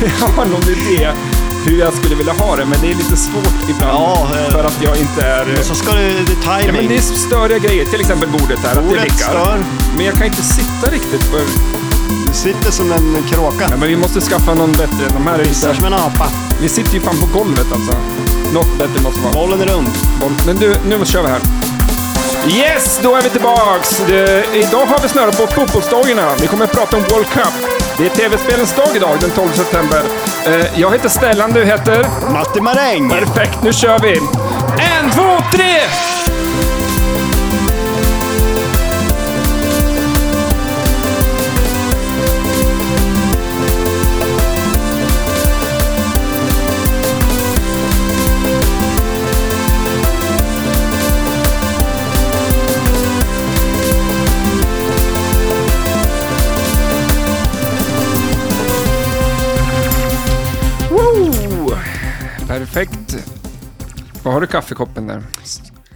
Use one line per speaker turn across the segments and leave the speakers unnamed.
ja, någon idé hur jag skulle vilja ha det, men det är lite svårt ibland
Ja, eh,
för att jag inte är...
Och så ska du... Det är
Ja, men det är
timing.
störiga grejer, till exempel bordet här, att det
Bordet
vickar.
stör.
Men jag kan inte sitta riktigt. För...
Du sitter som en kråka.
Ja, men vi måste skaffa någon bättre. De här är ju så
Sitter
här...
som en apa.
Vi sitter ju fan på golvet alltså. Något bättre måste vara.
Bollen är rund.
Boll. Men du, nu kör vi här. Yes, då är vi tillbaks! Det, idag har vi snörat på fotbollsdagarna. Vi kommer att prata om World Cup. Det är tv-spelens dag idag, den 12 september. Eh, jag heter Stellan, du heter?
Matti Maräng!
Perfekt, nu kör vi! En, två, tre! Woo! Perfekt. Vad har du i kaffekoppen där?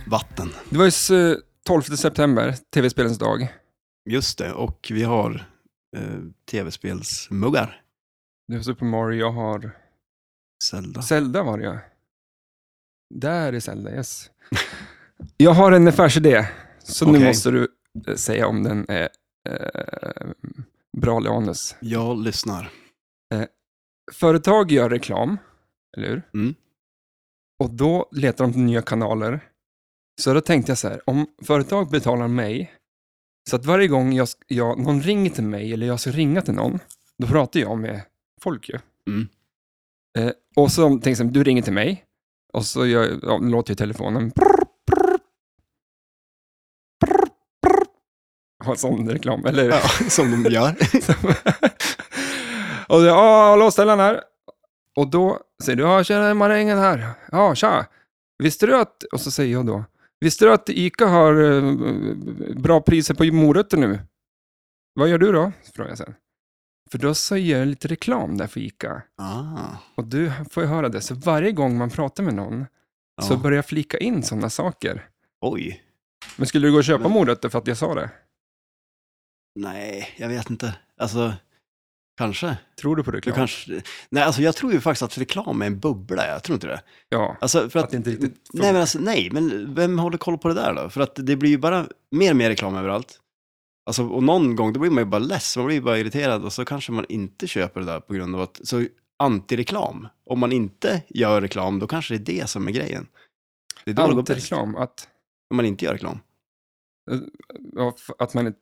Vatten.
Det var ju s- 12 september, tv-spelens dag.
Just det, och vi har eh, tv-spelsmuggar.
Du har Super Mario, jag har...
Zelda.
Zelda var det ja. Där är Zelda, yes. Jag har en affärsidé, så nu
Okej.
måste du eh, säga om den är eh, bra eller anus.
Jag lyssnar.
Företag gör reklam, eller hur?
Mm.
Och då letar de till nya kanaler. Så då tänkte jag så här, om företag betalar mig, så att varje gång jag, sk- jag, någon ringer till mig eller jag ska ringa till någon, då pratar jag med folk ju.
Mm.
Eh, och så tänker jag, så här, du ringer till mig, och så gör, ja, låter ju telefonen prr, prr, prr, prr. Ha sån reklam, eller?
Ja, som de gör.
och jag, ja, hallå Stellan här. Och då säger du, ja tjena marängen här. Ja, tja. Visste du att, och så säger jag då, visste du att ICA har eh, bra priser på morötter nu? Vad gör du då? Frågar jag sen. För då så gör jag lite reklam där för ICA.
Ah,
Och du får ju höra det. Så varje gång man pratar med någon
ja.
så börjar jag flika in sådana saker.
Oj.
Men skulle du gå och köpa
Men-
morötter för att jag sa det?
Nej, jag vet inte. Alltså, kanske.
Tror du på
Du
reklam?
kanske... Nej, alltså jag tror ju faktiskt att reklam är en bubbla. Jag tror inte det.
Ja.
Alltså, för att...
Att det inte riktigt
nej, men alltså, nej, men vem håller koll på det där då? För att det blir ju bara mer och mer reklam överallt. Alltså, och någon gång, då blir man ju bara less, man blir ju bara irriterad och så kanske man inte köper det där på grund av att... Så antireklam. Om man inte gör reklam, då kanske det är det som är grejen. Det är då det går bäst.
Antireklam, att...
Om man inte gör reklam.
Ja, f- att man, inte-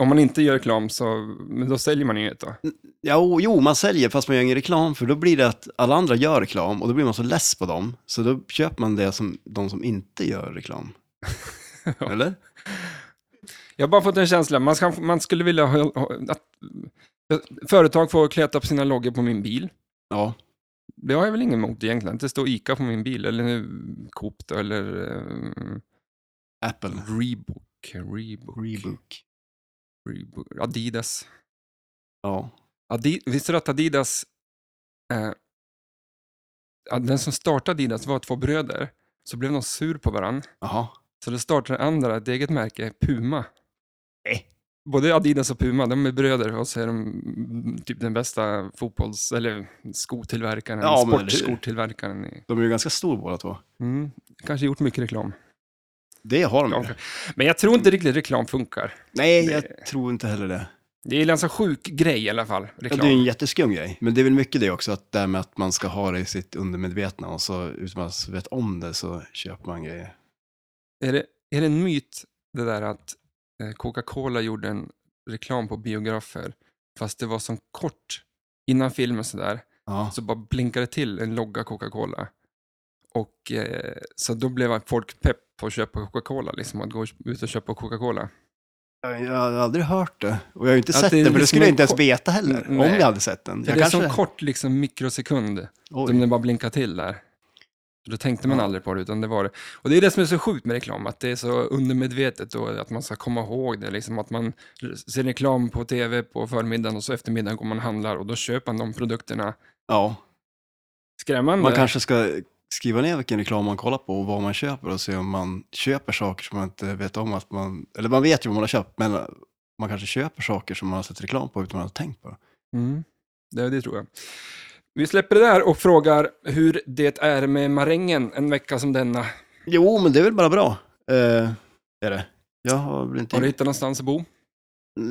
om man inte gör reklam så men då säljer man inget då.
Ja, o- jo, man säljer fast man gör ingen reklam, för då blir det att alla andra gör reklam och då blir man så less på dem, så då köper man det som de som inte gör reklam. Eller?
Jag har bara fått en känsla, man, ska, man skulle vilja ha, ha- att företag får kläta upp sina loggor på min bil.
Ja,
Det har jag väl ingen emot egentligen, att det står ICA på min bil, eller eh, Coop då, eller eh,
Apple.
Reebok, Reebok,
Rebook.
Reebok, Adidas.
Ja.
Adi, visste du att Adidas, eh, ja, den som startade Adidas var två bröder, så blev de sur på varandra.
Jaha.
Så då startade andra ett eget märke, Puma.
Nej.
Både Adidas och Puma, de är bröder och så är de mm, typ den bästa fotbolls eller skotillverkaren,
Ja, men eller hur?
sportskotillverkaren. i-
De är ju ganska stor båda två.
Mm. Kanske gjort mycket reklam.
Det har de
Ja.
ju.
Men jag tror inte riktigt reklam funkar.
Nej, jag
Det-
tror inte heller det.
Det är en ganska sjuk grej i alla fall,
Ja,
reklam.
det är ju en jätteskum grej. Men det är väl mycket det också, att det här med att man ska ha det i sitt undermedvetna och så utan man vet om det så köper man grejer.
Är, det, är det en myt det där att eh, Coca-Cola gjorde en reklam på biografer, fast det var som kort innan filmen sådär,
Ja,
så bara blinkade till en logga Coca-Cola. Och eh, så då blev folk pepp på att köpa Coca-Cola, liksom att gå ut och köpa Coca-Cola.
jag, jag har aldrig hört det. Och jag har ju inte
Att
sett
det är
den, för det
liksom
skulle jag
en
inte ens
ko-
veta heller.
Nej.
Om jag hade sett den.
För
Jag
det är
kanske...
som kort liksom, mikrosekund,
Oj.
som den bara blinkar till där. Så Då tänkte man
Ja.
aldrig på det, utan det var det. Och det är det som är så sjukt med reklam, att det är så undermedvetet och att man ska komma ihåg det. Liksom, att man ser reklam på tv på förmiddagen och så eftermiddagen går man och handlar och då köper man de produkterna.
Ja,
Skrämmande.
man kanske ska skriva ner vilken reklam man kollar på och vad man köper och se om man köper saker som man inte vet om att man... Eller man vet ju vad man har köpt, men man kanske köper saker som man har sett reklam på utan man har tänkt på det.
Mm. Det, det tror jag. Vi släpper det där och frågar hur det är med marängen en vecka som denna.
Jo, men det är väl bara bra. Eh, är det. Jag har väl inte...
Har du hittat någonstans att bo?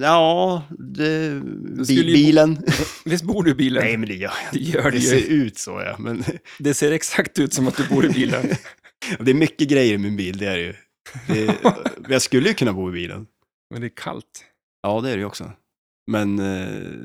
Ja, det...
skulle ju-
Bi- bilen.
Visst bor du i bilen?
Nej, men det gör jag
det gör
inte.
det
Det ser
ju.
ut så, ja. Men
Det ser exakt ut som att du bor i bilen.
det är mycket grejer i min bil, det är det ju. Det... Jag skulle ju kunna bo i bilen.
Men det är kallt.
Ja, det är det ju också. Men eh,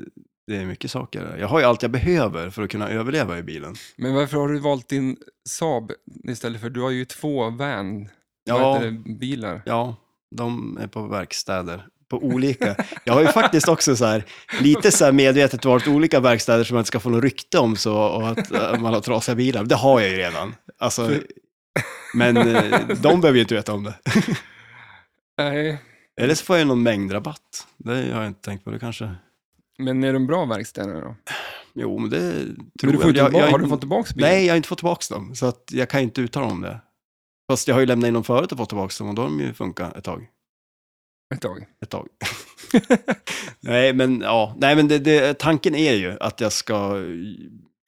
det är mycket saker. där. Jag har ju allt jag behöver för att kunna överleva i bilen.
Men varför har du valt din Saab istället för, du har ju två van, vad
Ja,
heter det, bilar.
ja, de är på verkstäder. På olika. Jag har ju faktiskt också så här, lite så här medvetet valt olika verkstäder som man inte ska få något rykte om så, och att eh, man har trasiga bilar. Det har jag ju redan. Alltså, men eh, de behöver ju inte veta om det.
Nej,
Eller så får jag ju någon mängdrabatt. Det har jag inte tänkt på. Det kanske...
men är de bra verkstäder då?
Jo, men det
Men
tror
du får inte
jag.
tillba-
jag, jag
har du fått tillbaka bilen?
Nej, jag har inte fått tillbaka dem, så att jag kan ju inte uttala om det. Fast jag har ju lämnat in dem förut och fått tillbaka dem och då har de ju funkat ett tag.
Ett tag.
Ett tag. nej, men, ja. nej, men det, det, tanken är ju att jag ska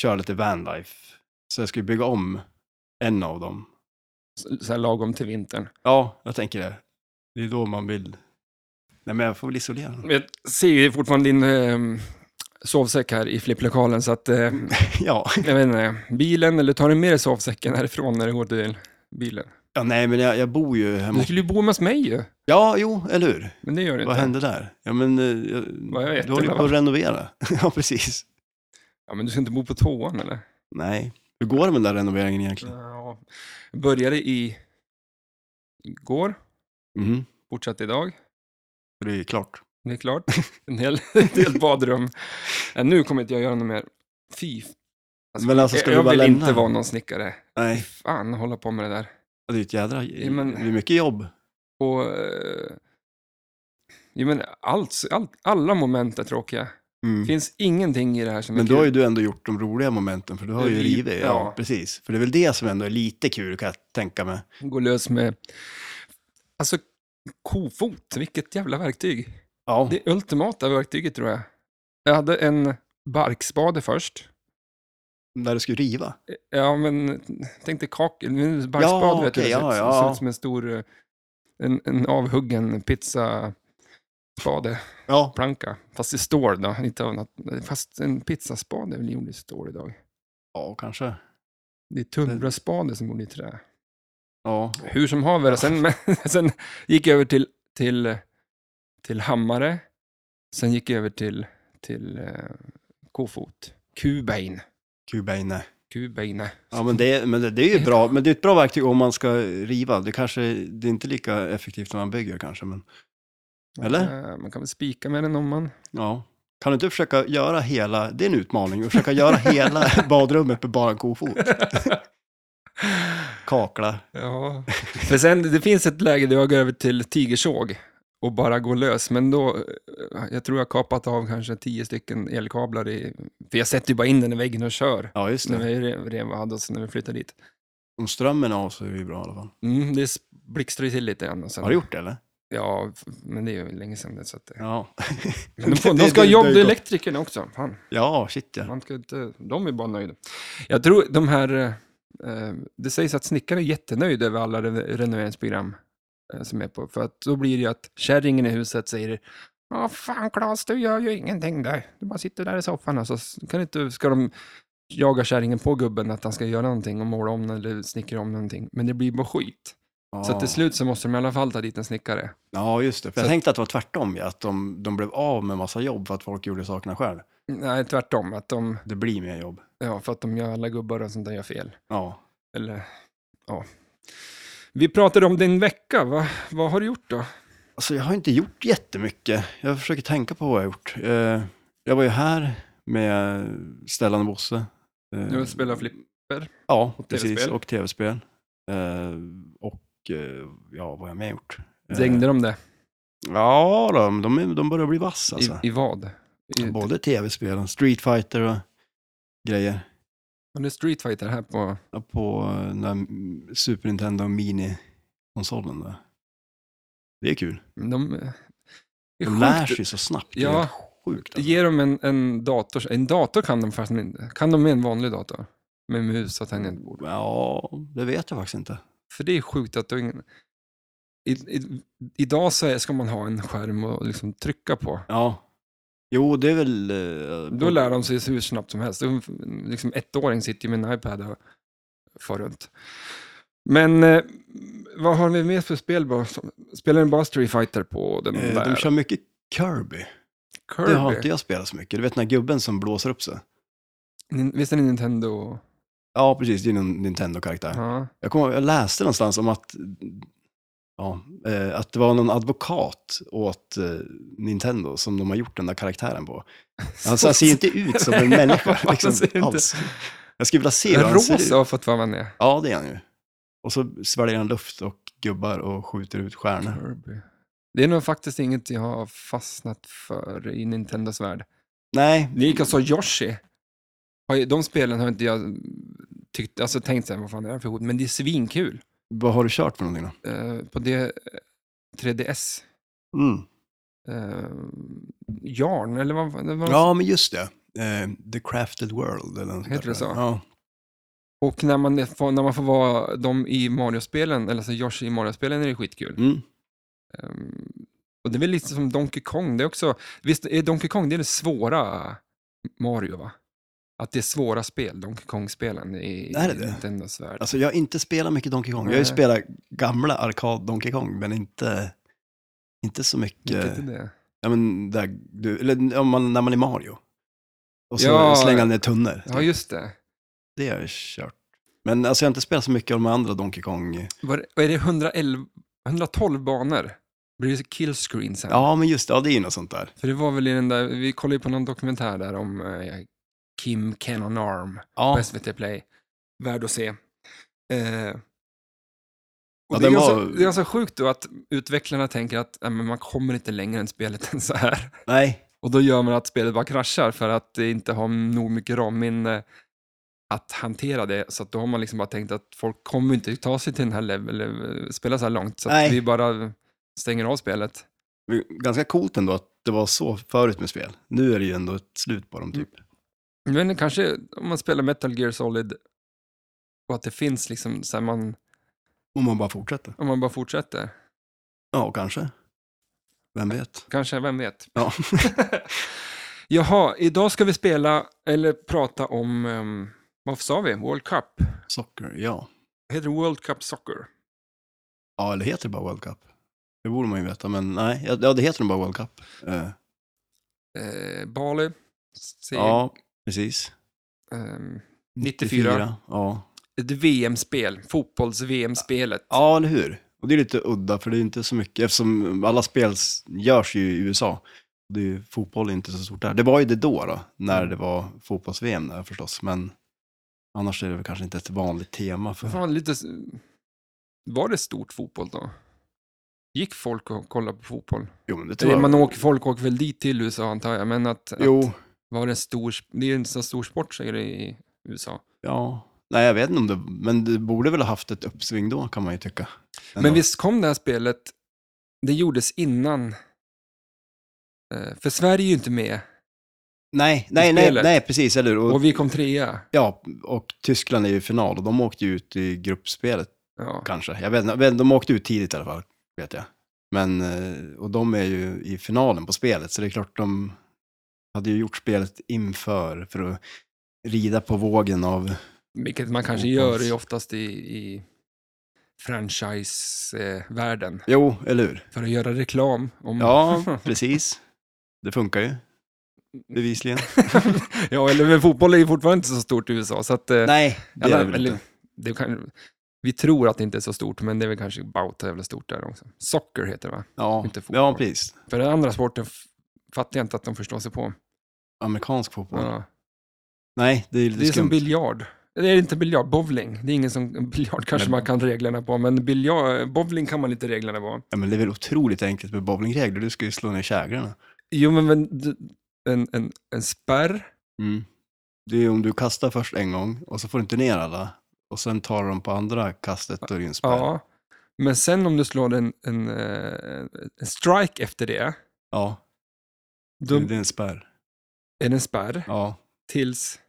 köra lite vanlife. Så jag ska ju bygga om en av dem.
Så- Så här lagom till vintern.
Ja, jag tänker det. Det är då man vill... Nej, men jag får väl isolera dem.
Men Jag ser ju fortfarande din eh, sovsäck här i flipplokalen, så att eh,
ja.
jag vet inte, bilen, eller tar du med dig sovsäcken härifrån när du går till bilen?
ja, nej, men jag, jag bor ju hemma.
Du skulle ju bo hemma hos mig ju,
Ja, jo, eller hur?
men det gör du
Vad
inte.
hände där? Ja, men eh, jag,
Vad jag vet,
du håller ju
eller
på
vad?
att renovera. ja, precis.
Ja, men du ska inte bo på toan eller?
Nej. Hur går det med den där renoveringen egentligen?
Ja, började i igår,
Mhm.
fortsatte idag.
Det är klart.
Det är klart. En hel del badrum. Ja, nu kommer inte jag göra något mer. Fy. f- Alltså,
Men alltså, ska
jag
du bara
vill
lämna?
inte vara någon snickare.
Nej,
Fan, hålla på med det där.
det är ju ett jädra...
Ja, men-
Det är mycket jobb.
Och... Eh, ja, men allt, allt, alla moment är tråkiga. Det finns ingenting i det här som är
Mm. Men då har ju
kul.
du ändå gjort de roliga momenten, för du har ju
Riv-
rivit. Ja,
ja.
precis. För det är väl det som ändå är lite kul, kan jag tänka mig.
Gå lös med... Alltså, kofot, vilket jävla verktyg.
Ja,
Det ultimata verktyget tror jag. Jag hade en barkspade först.
när du skulle riva.
Ja, men tänkte kakel, nu barkspad
Ja,
vet du,
okej,
det
ja,
ser-
ja.
ser ut som en stor, eh, en, en avhuggen pizzaspade,
Ja,
planka. Fast i stål då, inte av något, fast en pizzaspade är väl gjord i stål idag.
ja kanske.
Det är tunnbrödsspade som är gjord i trä.
Ja.
Hur som haver, sen, men, sen gick jag över till, till, till hammare, sen gick jag över till, till eh, kofot, kubein,
Kubeine.
kubeine.
Ja, men det, men det, det är ju bra. Men det är ett bra verktyg om man ska riva. Det kanske det är inte lika effektivt när man bygger kanske, men eller?
Eh, Man kan väl spika med den om man
Ja. Kan du inte försöka göra hela, det är en utmaning, att försöka göra hela badrummet med bara en kofot? Kakla.
Ja. För sen, det finns ett läge där jag går över till tigersåg och bara går lös, men då, eh, jag tror jag har kapat av kanske tio stycken elkablar i, för jag sätter ju bara in den i väggen och kör.
Ja, just
När
det.
vi re- rev och hade oss när vi flyttade dit.
Om strömmen är av så är det ju bra i alla fall.
Mm, det s- blixtrar ju till lite än. Och sen,
Har du gjort det eller?
Ja, f- men det är ju länge sedan det. Så att, det-
Ja.
men de, får, de ska ha jobb, det är elektrikerna också. Fan,
Ja, shit ja.
man ska inte, de är bara nöjda. Jag tror de här, eh, eh, det sägs att snickare är jättenöjda över alla re- renoveringsprogram eh, som är på, för att då blir det ju att kärringen i huset säger Ja, fan Claes, du gör ju ingenting där. Du bara sitter där i soffan och så s- kan inte, ska de jaga kärringen på gubben att han ska göra någonting och måla om eller snickra om någonting. Men det blir bara skit.
ja.
Så att till slut så måste de i alla fall ta dit en snickare.
Ja, just det. För
Så-
jag tänkte att det var tvärtom, ja. att de, de blev av med massa jobb för att folk gjorde sakerna själv.
Nej, tvärtom. Att de,
Det blir mer jobb.
ja, för att de gör alla gubbar och sånt där gör fel.
Ja.
Eller, ja. Vi pratade om din vecka, va? Vad har du gjort då?
Alltså jag har inte gjort jättemycket. Jag försöker tänka på vad jag har gjort. Eh, jag var ju här med Stellan och Bosse. Eh,
Du spelar flipper.
Ja,
Och
precis.
TV-spel.
Och tv-spel. Eh, och eh, ja, vad har jag mer gjort? Eh,
Dängde de det?
Ja, de, de, är- de börjar bli vass alltså.
I, I vad? I,
Både tv-spelen, Street Fighter och grejer.
var det Street Fighter här på...
Ja, På eh, den där mm, Super Nintendo Mini-konsolen där. Det är kul.
De, det är
De lär
sjukt.
sig så snabbt. Det är
Ja,
helt sjukt. Alltså.
Ge dem en, en dator. En dator kan de fast inte. Kan de med en vanlig dator? Med mus och tangentbord.
Ja, det vet jag faktiskt inte.
För det är sjukt att du ingen... I, i, idag så är- ska man ha en skärm och liksom trycka på.
Ja. Jo, det är väl... eh,
Då lär de sig hur snabbt som helst. De- Liksom ettåring sitter ju med en iPad och far runt. Men eh, vad har vi mer för spel? bara? Spelar ni bara Street Fighter på den
eh,
där?
De kör mycket Kirby.
Kirby?
Det har inte jag spelat så mycket. Du vet den här gubben som blåser upp sig?
Nin- Visst är det Nintendo?
Ja, precis. Det är någon Nintendo-karaktär.
Ja.
Jag, kommer, jag läste någonstans om att, ja, eh, att det var någon advokat åt eh, Nintendo som de har gjort den där karaktären på. Alltså, han ser ju inte ut som en människa
Han
liksom,
ser inte-
alls. Jag skulle vilja se hur han ser
Rosa
ut.
har fått vara med.
Ja, det är han ju. Och så sväljer han luft och gubbar och skjuter ut stjärnor.
Kirby. Det är nog faktiskt inget jag har fastnat för i Nintendos värld.
Nej,
Likaså alltså Yoshi. Har ju- De spelen har inte jag tyckt, alltså tänkt så här, vad fan är det här för hot? Men det är svinkul.
vad har du kört för någonting då?
Eh, på det 3DS.
Mm.
Eh, Jarn, eller vad, vad vad-
Ja, men just det. Eh, The Crafted World. Eller något sånt
Heter
där.
det så?
Ja.
Och när man, får, när man får vara de i Mario-spelen, eller så Yoshi i Mario-spelen är det skitkul.
Mm.
Ehm, och det är väl lite som Donkey Kong, det är också, visst är Donkey Kong det är det svåra Mario va? Att det är svåra spel, Donkey Kong-spelen i,
Är det
i
det?
Nintendos värld.
Alltså jag har inte spelat mycket Donkey Kong. Jag har ju
Nej.
spelat gamla arkad Donkey Kong, men inte, inte så mycket.
Vilket är det?
Ja, men där, du, eller om man, när man är Mario. Och så
Ja.
slänger han ner tunnor.
Ja, just det.
Det har jag kört. Men alltså jag har inte spelat så mycket av de andra Donkey Kong.
Var, och är det 111, 112 banor? Blir det killscreen sen?
Ja, men just det, ja, det är ju något sånt där.
För det var väl i den där, vi kollade ju på någon dokumentär där om eh, Kim Cannon Arm
Ja,
på SVT Play. Värd att se. Eh, och det,
Ja,
är
den
ganska,
var-
det är ganska sjukt då att utvecklarna tänker att "Nej, men man kommer inte längre än spelet än så här.
nej.
Och då gör man att spelet bara kraschar för att det inte har nog mycket ramminne att hantera det. Så att då har man liksom bara tänkt att folk kommer inte ta sig till den här level, eller eh, spela så här långt. Så att
Nej.
vi bara stänger av spelet.
Men Ganska coolt ändå att det var så förut med spel. Nu är det ju ändå ett slut på dem typ.
Mm. Men kanske om man spelar Metal Gear Solid och att det finns liksom, så här man,
Om man bara fortsätter.
om man bara fortsätter.
Ja, kanske. Vem vet?
Kanske, vem vet?
Ja.
Jaha, idag ska vi spela, eller prata om, ehm, vad sa vi, World Cup?
Socker, ja.
Heter det World Cup Soccer?
Ja, eller heter det bara World Cup? Det borde man ju veta, men nej. Ja, det heter nog bara World Cup. Eh,
Eh, Bali, se,
ja, precis.
ehm, 94.
Ja.
ett VM-spel, fotbolls-VM-spelet.
ja, eller hur? Och det är lite udda, för det är inte så mycket, eftersom alla spel s- görs ju i USA. Och Det är ju, fotboll är inte så stort där. Det var ju det då, då när det var fotbolls-VM där förstås, men annars är det väl kanske inte ett vanligt tema. För...
Fan, lite... s- Var det stort fotboll då? Gick folk och kollade på fotboll?
Jo, men det tror
Eller
jag.
man åker, folk åker väl dit till USA antar jag, men att,
Jo,
att var det en stor, det är ju inte så stor sport säger det i USA.
ja. Nej, jag vet inte om det, men det borde väl ha haft ett uppsving då, kan man ju tycka.
Men
Ändå.
visst kom det här spelet, det gjordes innan, eh, för Sverige är ju inte med
Nej, nej, nej,
spelet.
nej, precis, eller hur? Och-
och vi kom trea.
Ja, och Tyskland är ju i final och de åkte ju ut i gruppspelet
Ja.
kanske. Jag vet inte, de åkte ut tidigt i alla fall, vet jag. Men, eh, och de är ju i finalen på spelet, så det är klart de hade ju gjort spelet inför för att rida på vågen av,
Vilket man kanske gör
Hoppas.
i oftast i, i eh, franchise-världen,
jo, eller hur?
för att göra reklam. Om,
Ja, precis. Det funkar ju, bevisligen.
ja, eller men fotboll är ju fortfarande inte så stort i USA, så att... eh,
Nej, det är
eller-
det väl
eller-
inte.
det kan, vi tror att det inte är så stort, men det är väl kanske bauta jävla stort där också. Soccer heter det va?
Ja,
inte fotboll.
ja, precis.
För den andra sporten f- fattar jag inte att de förstår sig på.
Amerikansk fotboll.
Ja.
Nej, det är
Det,
lite
är som
skumt.
biljard. Det är inte biljard, bowling. Det är ingen som, biljard kanske
Nej.
man kan reglerna på, men biljard, bowling kan man inte reglerna på.
Ja, men det är väl otroligt enkelt med bowlingregler, du ska ju slå ner käglorna.
Jo, men, men d- en, en, en spärr,
Mm. Det är om du kastar först en gång och så får du inte ner alla. Och sen tar de på andra kastet och det är en spärr.
ja. Men sen om du slår en, en, eh, en strike efter det,
ja.
Då
Det är en spärr.
är det en spärr
Ja.
tills...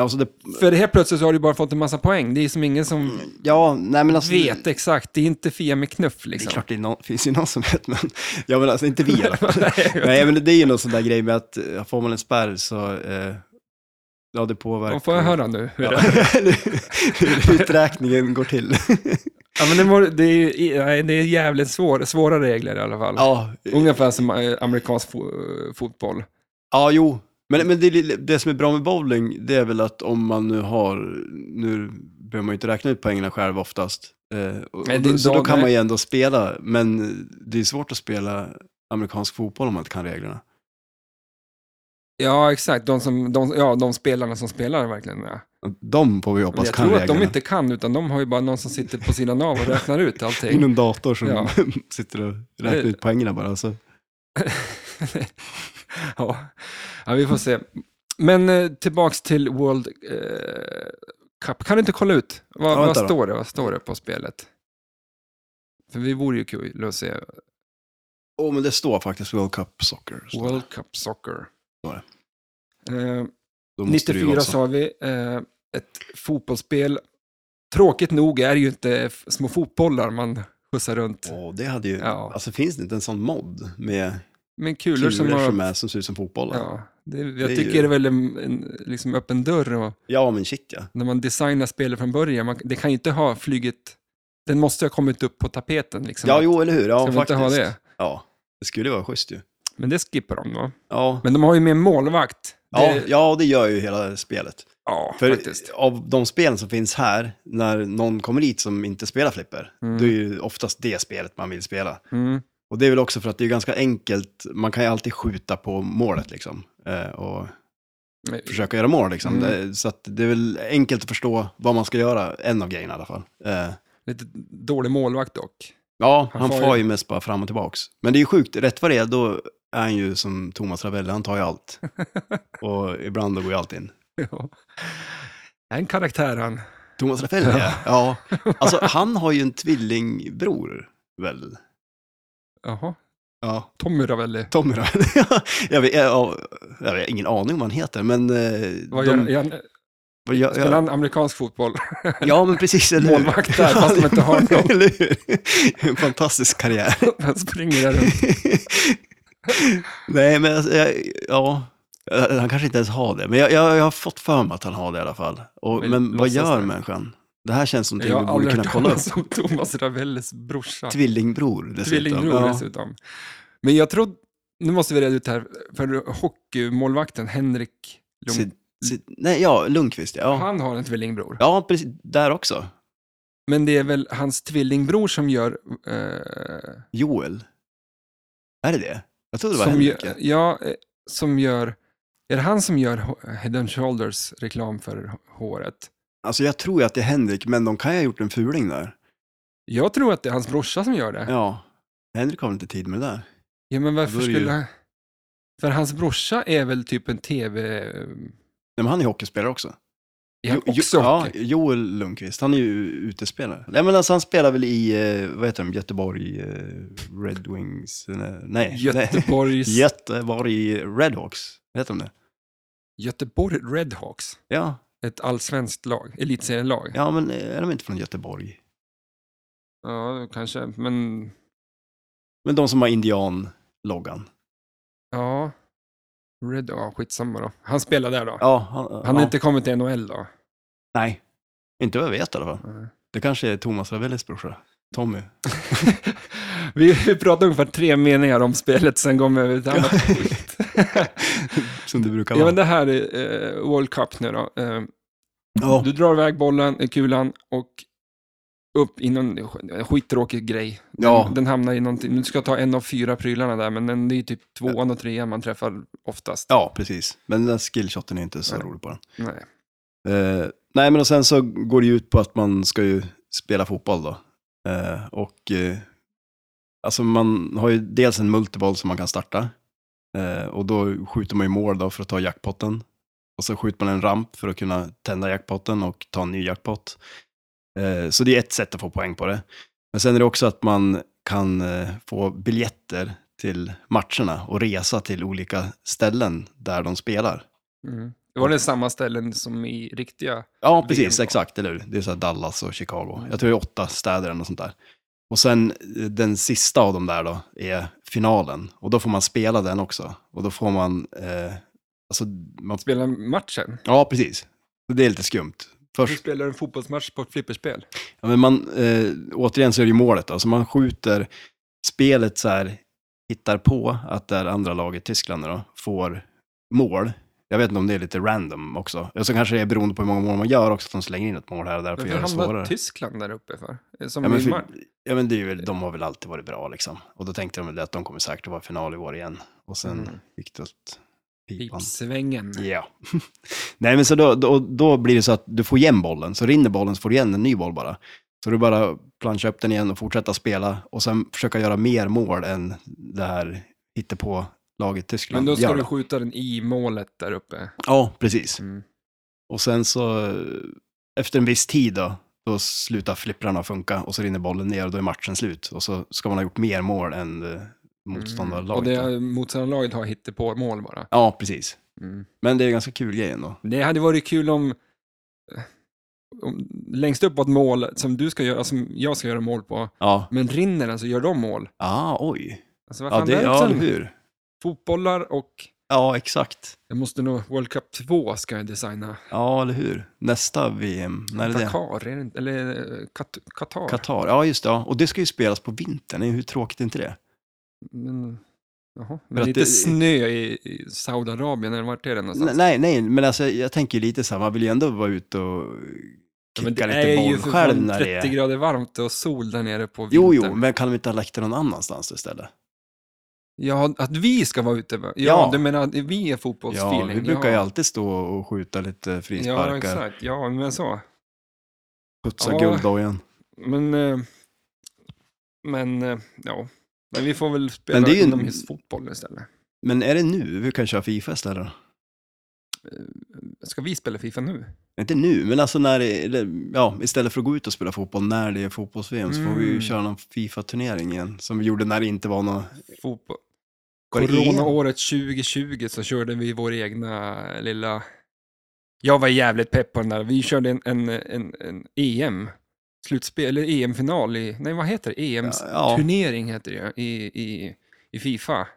Alltså det,
För helt plötsligt så har du bara fått en massa poäng. Det är som ingen som
Mm. ja, nej men alltså...
vet exakt. Det är inte Fia med knuff
Det är
liksom.
klart det är någon, finns ju någon som vet, men... Ja men alltså inte vi i alla fall.
Nej,
Nej, men det är ju någon sån där grej med att eh, får man en spärr så, eh, ja det påverkar.
Vad får jag höra nu? Hur
Ja.
det är?
Hur uträkningen går till.
Ja, men det, må, det, är, ju- nej, det är jävligt svår, svåra regler i alla fall.
ja,
Ungefär som eh, amerikansk fo- eh, fotboll.
ja jo. Men, men det, är li- det som är bra med bowling, det är väl att om man nu har, nu behöver man ju inte räkna ut poängen själv oftast. Eh, och,
Nej, det är
så då
dag-
kan
nej.
man ju ändå spela, men det är svårt att spela amerikansk fotboll om man inte kan reglerna.
Ja, exakt. De, som, de, ja, de spelarna som spelar verkligen med.
De får vi
Men
hoppas
jag
kan
tror att
reglerna.
de inte kan, utan de har ju bara någon som sitter på sidan av och räknar ut
I
allting.
någon dator som
Ja.
sitter och räknar ut poängerna bara. Så.
ja. ja, vi får se. Men eh, tillbaks till World eh, Cup. Kan du inte kolla ut? Vad,
Ja, vänta
vad,
då.
står det? vad står det på spelet? För vi vore ju kul att se
Åh, men det står faktiskt World Cup Soccer. Så
World Cup Soccer.
Så är
Eh,
då måste det ju
94
vara så.
sa vi, eh, ett fotbollsspel. Tråkigt nog är det ju inte f- små fotbollar man skjutsar runt.
Åh, det hade ju...
Ja.
Alltså finns det inte en sån mod med
Men
kulor
kulor som
som,
har...
är, som ser ut som fotbollar? Ja,
Ja, det, jag
Det är
tycker
ju-
det är väl en, en liksom öppen dörr och,
men shit ja.
när man designar spelet från början. Man, det kan ju inte ha flugit... Den måste ju ha kommit upp på tapeten liksom.
Ja, jo, eller hur? Ja,
Ska vi inte
faktiskt.
ha det?
Ja, det skulle vara schysst ju.
Men det skippar de då.
Ja,
Men de har ju med en målvakt.
ja,
det,
ja det gör ju hela spelet.
ja
För
faktiskt.
av de spelen som finns här, när någon kommer hit som inte spelar flipper,
Mm.
då är ju oftast det spelet man vill spela.
Mm.
Och det är väl också för att det är ganska enkelt, man kan ju alltid skjuta på målet liksom. Eh, och försöka göra mål liksom.
Mm.
Det, så att det är väl enkelt att förstå vad man ska göra, en av grejerna i alla fall. Eh,
Lite dålig målvakt dock.
ja,
Han
han,
far
far,
ju-
ju mest bara fram och tillbaks. Men det är ju sjukt, rätt vad det är då är han ju som Thomas Ravelli, han tar ju allt. och ibland då går ju allt in.
Ja. En karaktär han.
Thomas Ravelli, ja. ja. Alltså han har ju en tvillingbror, väl?
Jaha,
Ja.
Tommy Ravelli.
Tommy Ravelli. jag, vet, jag, jag har ingen aning om vad han heter, men... eh,
Vad gör,
de-
är han,
vad gör-
spelar han amerikansk fotboll?
Ja, men precis. Eller hur?
Målvakt där, fast de inte har någon.
Eller hur? En fantastisk karriär.
han springer där runt.
Nej, men alltså, jag, ja, Eh, han kanske inte ens har det. Men jag, jag, jag har fått för mig att han har det i alla fall. Och,
Vi
men vad
låtsas
gör
det.
människan? Det här känns som
Jag
någonting vi
har
borde
aldrig
kunna
hört
kolla upp.
talas om Thomas Ravellis brorsa.
Tvillingbror dessutom.
Tvillingbror
ja.
dessutom. Men jag tror, nu måste vi reda ut det här, för hockeymålvakten Henrik Lund,
Sid- Sid- nej, ja, Lundqvist, ja.
han har en tvillingbror.
Ja, precis. Där också.
Men det är väl hans tvillingbror som gör... Eh,
Joel. Är det det? Jag trodde det var
som
Henrik.
gör, ja, eh, som gör... Är det han som gör Ho- Head and Shoulders reklam för h- håret?
Alltså, jag tror ju att det är Henrik, men de kan ju ha gjort en fuling där.
Jag tror att det är hans brorsa som gör det. Ja,
Ja. Henrik har väl inte tid med det där?
men varför
Då är det ju-
skulle... För hans brorsa är väl typ en tv...
Nej, men han är hockeyspelare också.
Är han
Jo- jo-
också
ja,
hockey?
Joel Lundqvist, han är ju utespelare. Nej, men alltså han spelar väl i, eh, vad heter de, Göteborg eh, Red Wings? eller- Nej, nej.
Göteborgs...
Göteborg Redhawks, heter de det?
Göteborg Redhawks.
Ja,
Ett allsvenskt lag, elitserielag.
ja, men är de inte från Göteborg?
Ja, kanske, men
Men de som har indian-loggan.
ja. Red, ja, skitsamma då. Han spelar där då.
Ja, han,
Han har
ja.
inte kommit till NHL då.
Nej, inte vad jag vet i alla fall.
Nej.
Det kanske är Thomas Ravellis brorsa, Tommy.
Vi, vi pratade ungefär tre meningar om spelet, sen kom vi över till annat skit.
som det brukar
ja,
vara.
men det här är eh, World Cup nu då. Eh,
Ja,
Du drar iväg bollen, eh, kulan, och upp i någon sk- skittråkig grej. Den,
Ja.
den hamnar i någonting. Du ska ta en av fyra prylarna där, men den, det är typ tvåan och trean man träffar oftast.
ja, precis. Men den där skillshoten är inte så
Nej.
rolig på den.
Nej.
Eh, nej, men och sen så går det ju ut på att man ska ju spela fotboll då. Eh, och eh, alltså man har ju dels en multiboll som man kan starta. Eh, och då skjuter man ju mål då för att ta jackpotten. Och så skjuter man en ramp för att kunna tända jackpotten och ta en ny jackpot. Eh, så det är ett sätt att få poäng på det. Men sen är det också att man kan eh, få biljetter till matcherna och resa till olika ställen där de spelar.
Mm. Det var det samma ställen som i riktiga...
Ja, precis.
VM.
Exakt, eller hur? Det är så här Dallas och Chicago. Jag tror det är åtta städer eller något sånt där. Och sen eh, den sista av dem där då är finalen. Och då får man spela den också. Och då får man... Eh, alltså, man
Spela matchen.
ja, precis. Det är lite skumt.
Du
Först,
spelar en fotbollsmatch på ett flipperspel.
ja, men man, eh, återigen så är det ju målet. Alltså man skjuter spelet så här, hittar på att det här andra laget, Tyskland då, får mål. Jag vet inte om det är lite random också. Och så kanske det är beroende på hur många mål man gör också, att de slänger in ett mål här och där för att
Varför
göra det
hamnar
svårare.
Tyskland där uppe för? Eh, Som
Ja men,
i
för,
mar-
ja, men det är väl, de har väl alltid varit bra liksom. Och då tänkte de väl att de kommer säkert att vara i final i år igen. Och sen
Mm.
gick det åt pipan.
Pipsvängen.
Ja. Nej, men så då, då, då blir det så att du får igen bollen, så rinner bollen så får du igen en ny boll bara. Så du bara planchar upp den igen och fortsätta spela och sen försöka göra mer mål än det här hittepå laget Tyskland
Men då ska
gör.
du skjuta den i målet där uppe.
Ja, precis.
Mm.
Och sen så eh, efter en viss tid då, då slutar flipprarna funka och så rinner bollen ner och då är matchen slut. Och så ska man ha gjort mer mål än eh,
Mm. Och
motståndarlaget. då.
det motståndarlaget har hittepå-mål bara.
Ja, precis.
Mm.
Men det är en ganska kul grej ändå.
Det hade varit kul om, om längst upp var ett mål som du ska göra, som jag ska göra mål på,
Ja,
men rinner den så gör de mål.
ah, oj.
Alltså vad
Ja,
fan
det, ja,
är
eller
det som
hur?
fotbollar och
Ja, exakt.
jag måste nog, World Cup 2 ska jag designa.
Ja, eller hur? Nästa VM, när är det det?
Dakar, är det inte? Eller eh, Kat- Qatar.
Qatar. Ja, just det. Ja. Och det ska ju spelas på vintern. Hur tråkigt är inte det?
Men, jaha,
För
men
att
lite
det-
snö i, i Saudiarabien, eller vart är det någonstans?
N- Nej, nej, men alltså, jag tänker ju lite så här, man vill ju ändå vara ute och
Ja, men
kicka
det
lite
är
boll
ju för
själv
fan
när det
30
är...
grader varmt och sol där nere på vintern.
Jo, jo, men kan de inte ha lagt det någon annanstans istället?
Ja, att vi ska vara ute va? Ja,
Ja.
du menar att vi är
Ja,
fotbollsfeeling?
vi brukar ju alltid stå och skjuta lite
Ja,
frisparkar,
exakt. Ja, men så.
putsa
Ja.
gulddojan.
Men, eh, men, eh, ja. Men vi får väl spela
Men det är ju en-
inomhusfotboll istället.
Men är det nu vi kan köra Fifa istället? då?
Ska vi spela Fifa nu?
Inte nu, men alltså när det, eller, ja, istället för att gå ut och spela fotboll när det är fotbolls-VM så får vi ju
Mm.
köra någon Fifa-turnering igen, som vi gjorde när det inte var någon...
Fotboll.
Var det E? EM?
Coronaåret 2020 så körde vi vår egna lilla... Jag var jävligt pepp på den där. Vi körde en, en, en, en EM. Slutspel, eller EM-final i... Nej, vad heter det? EMs
Ja,
turnering heter det ju, i, i, i Fifa.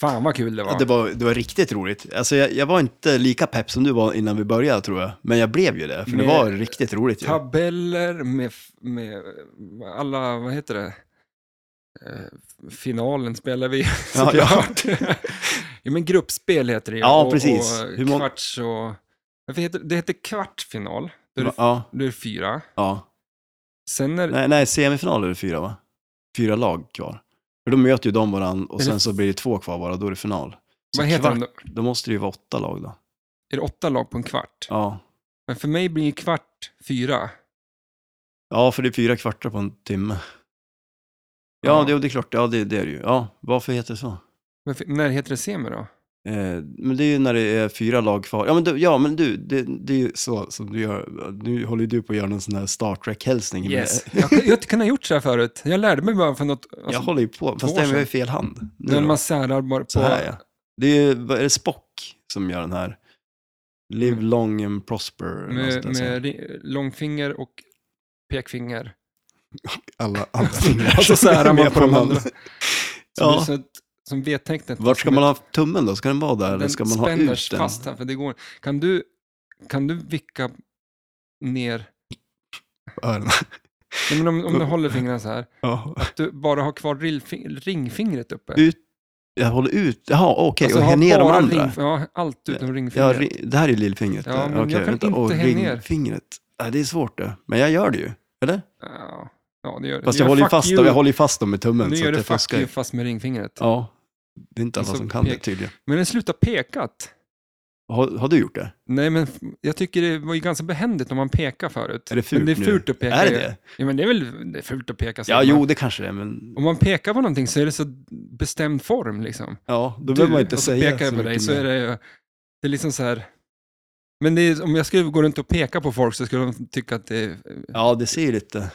Fan vad kul det var.
Ja, Det var, det var riktigt roligt. Alltså jag, jag var inte lika pepp som du var innan vi började tror jag, men jag blev ju det, för det
Med
var riktigt roligt ju.
Tabeller med, f- med eh, alla, vad heter det? Eh, Finalen spelar vi
Ja,
såklart. Ja, men gruppspel heter det ju,
Ja, precis.
Och,
Hur
och
mång-
kvarts och... Varför heter, det heter kvartsfinal. Då är det,
Ja,
då är det fyra.
ja.
Sen är,
Nej, nej, semifinal är det fyra va? Fyra lag kvar. För då möter ju de varandra och
Är det-
sen så blir det två kvar bara, då är det final. Så
vad heter
kvart,
den då?
Då måste det ju vara åtta lag då.
Är det åtta lag på en kvart?
Ja,
Men för mig blir kvart fyra.
ja för det är fyra kvartar på en timme. Ja,
Ja.
Det, det är klart, ja det, det är det ju. Ja, varför heter det så?
Varför, när heter det semi då?
Eh, men det är ju när det är fyra lag kvar. Ja men du, ja, men du det, det är ju så som du gör. Nu håller ju du på att göra någon sån här Star Trek-hälsning.
Yes. jag, jag kunde ha gjort så här förut. Jag lärde mig bara för något...
Men jag
Alltså,
håller ju på,
två
fast
år
det är i
sedan.
fel hand. Nu
när
då.
man särar bara på...
Så här ja. Det är ju, vad är det Spock som gör den här? Live long and prosper. eller något sånt
Mm. Med,
där, så här.
med ri- långfinger och pekfinger.
alla andra fingrar.
Och så särar
som är
man
med
på de andra. Som,
Ja.
ja. som V-tecknet.
Vart ska man ha tummen då? Ska den vara där eller ska man ha
spänner
ut den?
fast här, för det går. Kan du, kan du vicka ner?
Öronen.
Nej, men om, om du håller fingrarna så här.
Ja.
Du bara har kvar rillfing- ringfingret uppe.
Ut- Jag håller ut, jaha okej,
Alltså,
och
ha
här ner de
bara
andra.
ring- ja, allt utom
Ja,
ringfingret.
ri- det här är lillfingret.
Ja,
där.
men jag
Okej,
kan
vänta.
inte
Och
hänga ner.
ringfingret. Nej, det är svårt det. Men jag gör det ju. Eller?
Ja. ja, det gör
Fast
det gör
jag håller ju
fuck
fast,
you.
dem, jag håller ju fast dem med tummen.
Nu
så
gör
att
det
jag
fuck
fuskar.
you fast med ringfingret.
Ja, det är inte alla
Alltså,
som kan det
pek-
tydligen.
Men den slutar pekat.
Har, har du gjort det?
Nej, men f- jag tycker det var ju ganska behändigt om man pekar förut.
Är det fult
men det är
nu?
fult att peka.
Är det
ju.
det?
Ja, men det är väl det är fult att peka. säger
Ja,
man.
jo, det kanske det är, men...
Om man pekar på någonting så är det så bestämd form liksom.
Ja, då behöver man inte
och så
säga
pekar jag på dig
mycket
så är
mer.
det ju, det är liksom så här. Men det är, om jag skulle gå runt och peka på folk så skulle de tycka att det är,
Ja, det ser ju lite...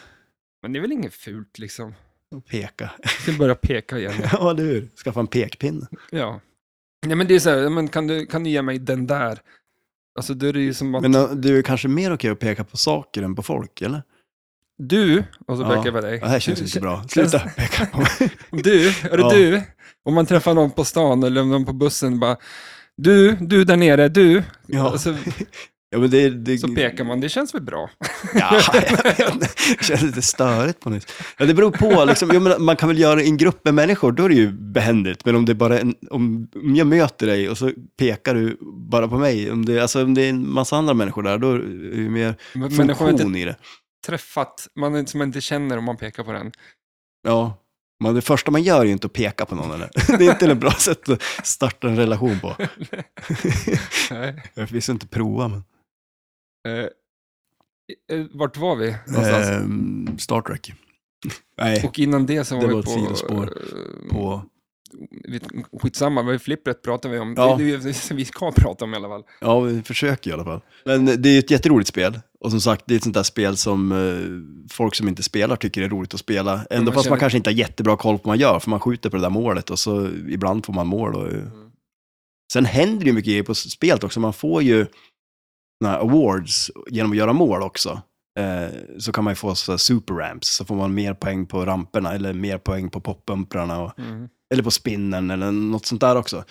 men det är väl inget fult liksom.
Och peka.
Ska börja peka igen.
ja, eller hur? Skaffa en pekpinne.
Ja. Nej, men det är så här, men kan, du, kan du ge mig den där? Alltså, då är det ju som att
Men eh, du är kanske mer okej att peka på saker än på folk, eller?
du, och så
Ja.
pekar jag på dig.
Det här känns inte bra. Sluta peka på mig.
Du, är det
Ja.
du? Om man träffar någon på stan eller någon på bussen, bara du, du där nere, du.
Ja.
Alltså,
Ja, men det, det,
så pekar man, det känns väl bra?
Ja, jag vet inte. Det känns lite störigt på något vis. ja, Det beror på, liksom, jag menar, man kan väl göra det i en grupp med människor, då är det ju behändigt. Men om det är bara en, om, om jag möter dig och så pekar du bara på mig, om det, alltså, om det är en massa andra människor där, då är det ju mer
Men men det har
funktion
inte
i det.
träffat, man är- som man inte känner om man pekar på den.
Ja. Men det första man gör är ju inte att peka på någon, eller? Det är inte ett bra sätt att starta en relation på.
Nej.
Jag vill inte prova, men...
Eh, eh, Vart var vi någonstans?
Ehm, Star Trek. Nej,
Och innan det så var
Eh,
vi
det var ett
på...
sidospår.
eh,
på...
vi- Skitsamma, vad flippret pratar vi om.
Ja.
Det är det vi ska prata om i alla fall.
Ja, vi försöker i alla fall. Men det är ju ett jätteroligt spel. Och som sagt, det är ett sånt där spel som eh, folk som inte spelar tycker är roligt att spela. Ändå
Mm, man
fast
känner-
man kanske inte har jättebra koll på vad man gör, för man skjuter på det där målet och så ibland får man mål. Och...
Mm.
Sen händer det ju mycket grejer på s- spelet också. Man får ju såna här awards genom att göra mål också. Eh, så kan man ju få så här super ramps, så får man mer poäng på ramperna eller mer poäng på poppumprarna. Och
Mm.
eller på spinnen eller något sånt där också.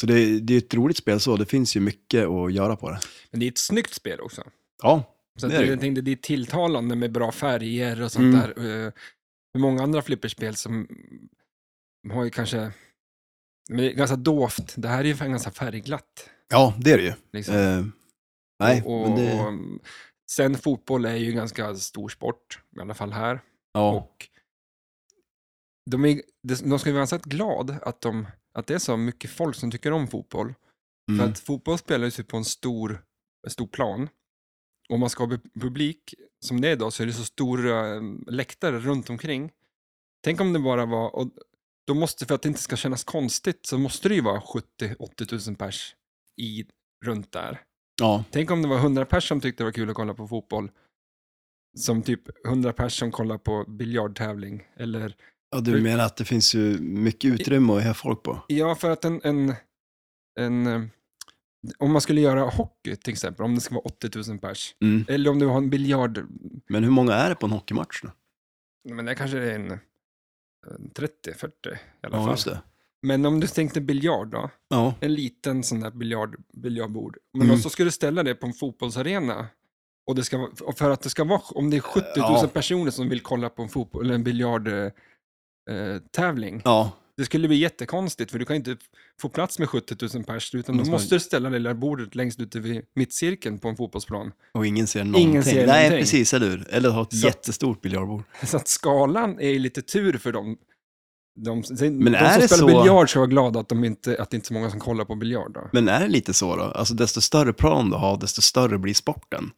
Så det, det är ett roligt spel så, det finns ju mycket att göra på det.
Men det är ett snyggt spel också.
Ja,
Så att
Det är det
det,
ju.
jag tänkte, det är tilltalande med bra färger och sånt
Mm.
där. Eh, Hur många andra flipperspel som har ju kanske men det är ganska doft. Det här är ju ganska färgglatt.
ja det är det ju.
Liksom.
Eh, nej,
och,
men det...
och, mm, sen fotboll är ju ganska stor sport, i alla fall här.
Ja,
Och de, är, de ska ju vara ganska glad att, de, att det är så mycket folk som tycker om fotboll. För
mm,
att fotboll spelas ju på en stor, en stor plan. Om man ska ha bu- publik, som det är idag, så är det så stora eh, läktare runt omkring. Tänk om det bara var, och då måste, för att det inte ska kännas konstigt, så måste det ju vara 70-80 000 pers i, runt där.
ja,
Tänk om det var 100 pers som tyckte det var kul att kolla på fotboll. Som typ 100 pers som kollar på biljardtävling. Eller,
ja, du menar att det finns ju mycket utrymme att ha folk på?
ja, för att en, en, en, eh, om man skulle göra hockey till exempel, om det ska vara 80 000 pers.
Mm.
Eller om du har en biljard,
Men hur många är det på en hockeymatch då?
men det kanske är en, en 30-40 i alla
Ja,
fall.
just det.
Men om du tänkte biljard då,
Ja,
en liten sån där biljard, biljardbord. Men
Mm.
om så ska du ställa det på en fotbollsarena. Och det ska, vara- och för att det ska vara, om det är 70 000
Ja.
personer som vill kolla på en fotboll, eller en biljardtävling. Eh, tävling.
ja,
Det skulle bli jättekonstigt för du kan inte få plats med 70 000 pers utan då
Måste man-
måste du ställa det där bordet längst ute vid mittcirkeln på en fotbollsplan.
och ingen ser någonting.
Ingen ser
nej,
någonting.
precis, eller hur? Eller ha ett
Så-
jättestort biljardbord.
Så att skalan är ju lite tur för dem. De, de,
Men
de
är
som
det
spelar
så-
biljard ska vara glada att, de inte, att det inte är så många som kollar på biljard. Då.
Men är det lite så då? Alltså desto större plan du har, desto större blir sporten.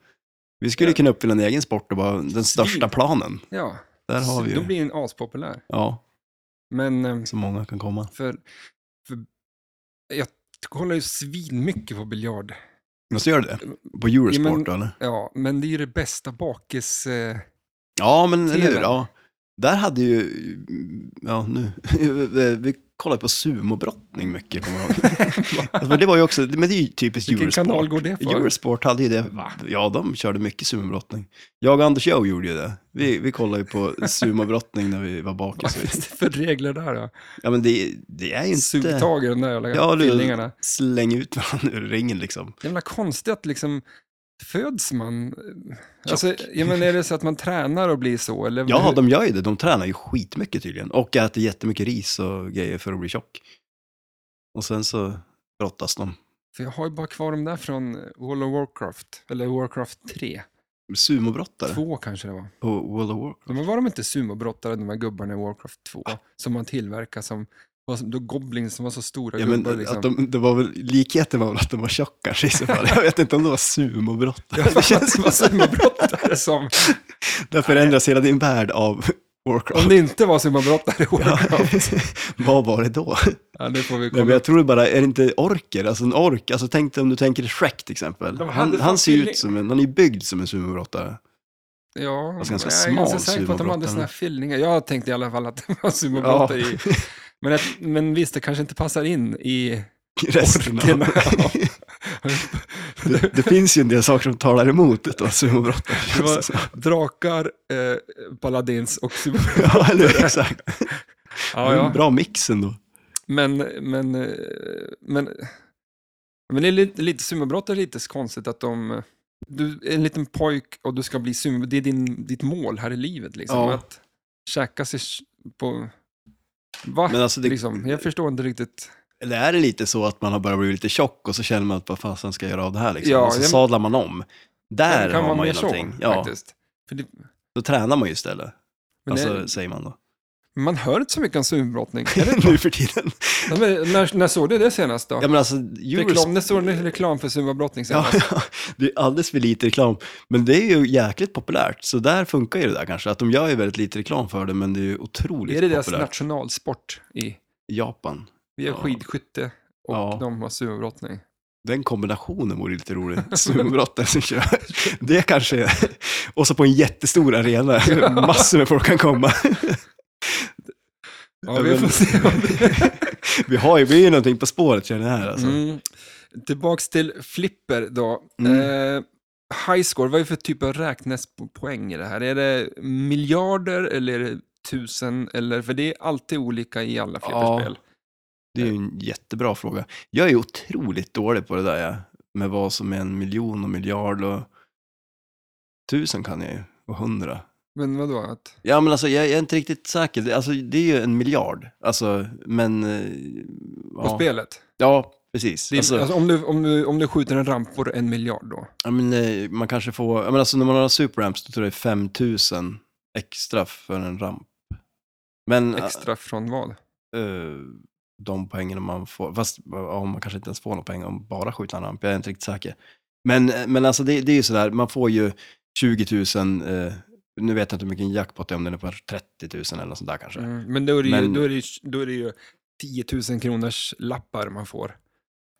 Vi skulle
Ja.
kunna uppfinna en egen sport och bara den största planen.
Ja,
Där har vi
då
ju.
blir den aspopulär.
Ja,
Men eh,
så många kan komma.
för, för jag kollar ju svinmycket på biljard.
Men så gör det På Eurosport
Ja, men-
då, eller?
Ja, men det är ju det bästa bakis... Eh,
Ja, men eller hur?
TV.
Ja. Där hade ju, ja nu, vi kollade på sumobrottning mycket, kommer jag ihåg. Alltså, Men det var ju också, men det är ju typiskt
vilken
Eurosport.
kanal går det för?
Eurosport hade ju det. Ja, de körde mycket sumobrottning. Jag och Anders Joe gjorde ju det. Vi, vi kollade ju på sumobrottning när vi var
Vad
bakis.
finns det för regler där då?
Ja, men det, det är ju inte...
Sugtag i de där jävla
Ja,
ja,
du-
fillingarna.
Släng ut varandra ur ringen liksom.
jävla konstigt att liksom föds man... Alltså, jag menar, är det så att man tränar och blir så? Eller
Ja,
hur-
de gör ju det. De tränar ju skitmycket tydligen. Och äter jättemycket ris och grejer för att bli tjock. Och sen så brottas de.
För jag har ju bara kvar de där från World of Warcraft, eller Warcraft 3.
Sumobrottare
Två kanske det var.
på World of Warcraft.
Men var de inte sumobrottare, de här gubbarna i Warcraft 2? Som man tillverkar som, var som då goblins som var så stora
Ja,
gubbar.
men eh,
liksom.
att de, det var väl, likheten var väl att de var tjocka kanske i så fall. Jag vet inte om de var sumobrottare.
Ja,
Det känns som
vad
att
sumobrottare som...
där förändras hela din värld av
Om
Warcraft.
det inte var sumobrottare i
Ja,
Warcraft. Ja.
vad var det då?
det får vi
Nej,
kolla.
men jag tror det bara, är det inte orker? Alltså en ork, alltså tänk dig om du tänker Shrek till exempel.
De hade
Han,
fan
han ser ju
feeling.
ut som en, han är ju byggd som en sumobrottare.
Ja,
Fast ganska
jag är ganska
smal
säker på att de hade
suvabrottare.
såna här fyllningar. Jag tänkte i alla fall att det var sumobrottare
Ja,
i. Men, att, men visst, det kanske inte passar in i...
resten av.
Orken, ja.
det, det finns ju en del saker som talar emot ett sumobrott.
Det var drakar, eh, paladins och sumobrottare.
Ja, eller hur? Exakt.
Ja, ja.
Bra mix ändå.
Men, men, eh, men, men det är lite, lite sumobrott är lite konstigt att de... Du är en liten pojk och du ska bli sumo. Det är din, ditt mål här i livet. Liksom,
Ja.
Att käka sig sh- på... Va?
Men alltså det,
liksom, jag förstår inte riktigt.
Eller är det lite så att man har börjat bli lite tjock och så känner man att vad fasen ska jag göra av det här liksom?
Ja,
och så
det-
sadlar man om. Där
det kan
har
vara
man
mer
ju
så,
någonting. Ja,
faktiskt. För det,
då tränar man ju istället.
men
alltså,
det,
säger man då.
man hör inte så mycket om sumbrottning. Är det-
nu för tiden.
Ja, men när, när såg du det senast då?
Ja, men alltså,
reklam, det står en reklam för sumbrottning
Ja,
senast.
ja, det är alldeles för lite reklam. Men det är ju jäkligt populärt, så där funkar ju det där kanske. Att de gör ju väldigt lite reklam för det, men det är ju otroligt
är det deras
populärt.
nationalsport i
Japan.
Vi har
Ja.
skidskytte och
Ja.
de har sumbrottning.
Den kombinationen vore lite rolig. Sumobrottare som kör. Det kanske är... Och så på en jättestor arena. Massor med folk kan komma.
Ja,
Ja,
vi
men-
får se vad det
Vi har ju, vi är ju någonting på spåret känner jag här alltså.
mm. Tillbaks till flipper då.
Mm.
Eh, high score, vad är det för typ av räknespoäng i det här? Är det miljarder eller är det tusen? Eller, för det är alltid olika i alla flipperspel.
Det är ju en jättebra fråga. Jag är ju otroligt dålig på det där jag, med vad som är en miljon och miljard och tusen kan jag ju, och hundra.
Men vadå? Att,
Ja men alltså jag, jag är inte riktigt säker, Det- alltså det är ju en miljard, alltså men... eh, Ja,
På spelet?
ja precis.
Det är,
alltså,
alltså, om, du, om, du, om du skjuter en ramp får du en miljard då?
Ja, men, eh, man kanske får, ja, men alltså när man har superramps då tror jag det är 5000 extra för en ramp. Men
Extra från vad?
eh, de poängen man får, fast ja, man kanske inte ens får några poäng om man bara skjuter en ramp, jag är inte riktigt säker. Men, men alltså det, det är ju sådär, man får ju 20 000, eh, nu vet jag inte hur mycket en jackpot är, om den är på 30 000 eller något sånt där kanske.
Mm, men då är, det ju,
Men-
då, är det ju, då är det ju 10 000 kronors lappar man får.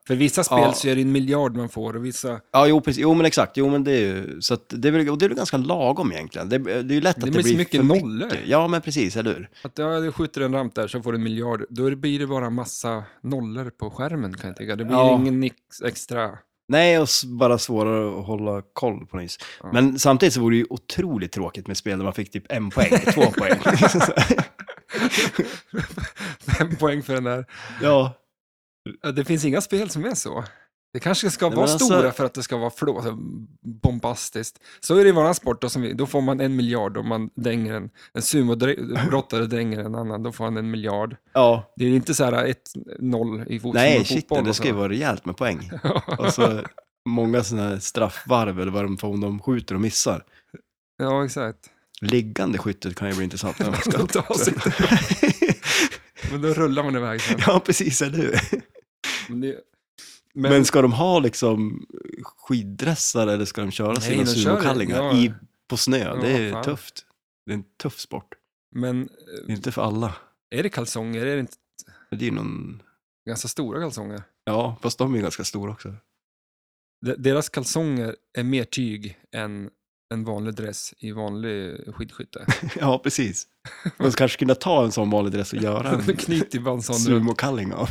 För vissa spel
Ja.
så är det en miljard man får och vissa...
Ja, jo, precis. jo men exakt, jo men det är ju, så att det är väl, och det är väl ganska lagom egentligen. Det, det är ju lätt
Det
att
blir
det
så
blir
mycket
för
nollor.
mycket. Ja men precis, eller hur?
Att ja, du skjuter en ramp där så får du en miljard. Då blir det bara massa nollor på skärmen kan jag tycka. Det blir
Ja.
ingen ex- extra...
Nej, och s- bara svårare att hålla koll på nyss.
Ja.
Men samtidigt så vore det ju otroligt tråkigt med spel där man fick typ en poäng, två poäng.
Fem poäng för den där.
ja.
Ja, Det finns inga spel som är så. Det kanske ska
Nej,
vara
men alltså-
stora för att det ska vara flå, så bombastiskt. Så är det i våran sport, då, som vi, då får man en miljard om man dränger en, en sumobrottare dränger en annan, då får han en miljard.
ja.
Det är inte så här 1-0 i fot- som
Nej,
i
shit,
fotboll.
det
och
ska ju
så.
vara rejält med poäng. Och så många sådana här straffvarv eller vad de får om de skjuter och missar.
ja, exakt.
Liggande skyttet kan ju bli intressant. när man ska
Man tar sig Men då rullar man iväg sen.
ja, precis, eller hur?
Men, det,
Men, ska de ha liksom skiddressar eller ska de köra
Nej,
sina
de kör det.
sumokallingar
Ja.
i- på snö? det är
fan.
tufft. Det är en tuff sport.
men eh,
Det är inte för alla.
är det kalsonger? Är det inte
Men det är ju någon...
ganska stora kalsonger?
Ja, fast de är ju ganska stora också.
De, deras kalsonger är mer tyg än en vanlig dress i vanlig skidskytte.
ja, precis. Man skulle kanske kunna ta en sån vanlig dress och göra en
Knyter bara en sån runt.
sumokalling av.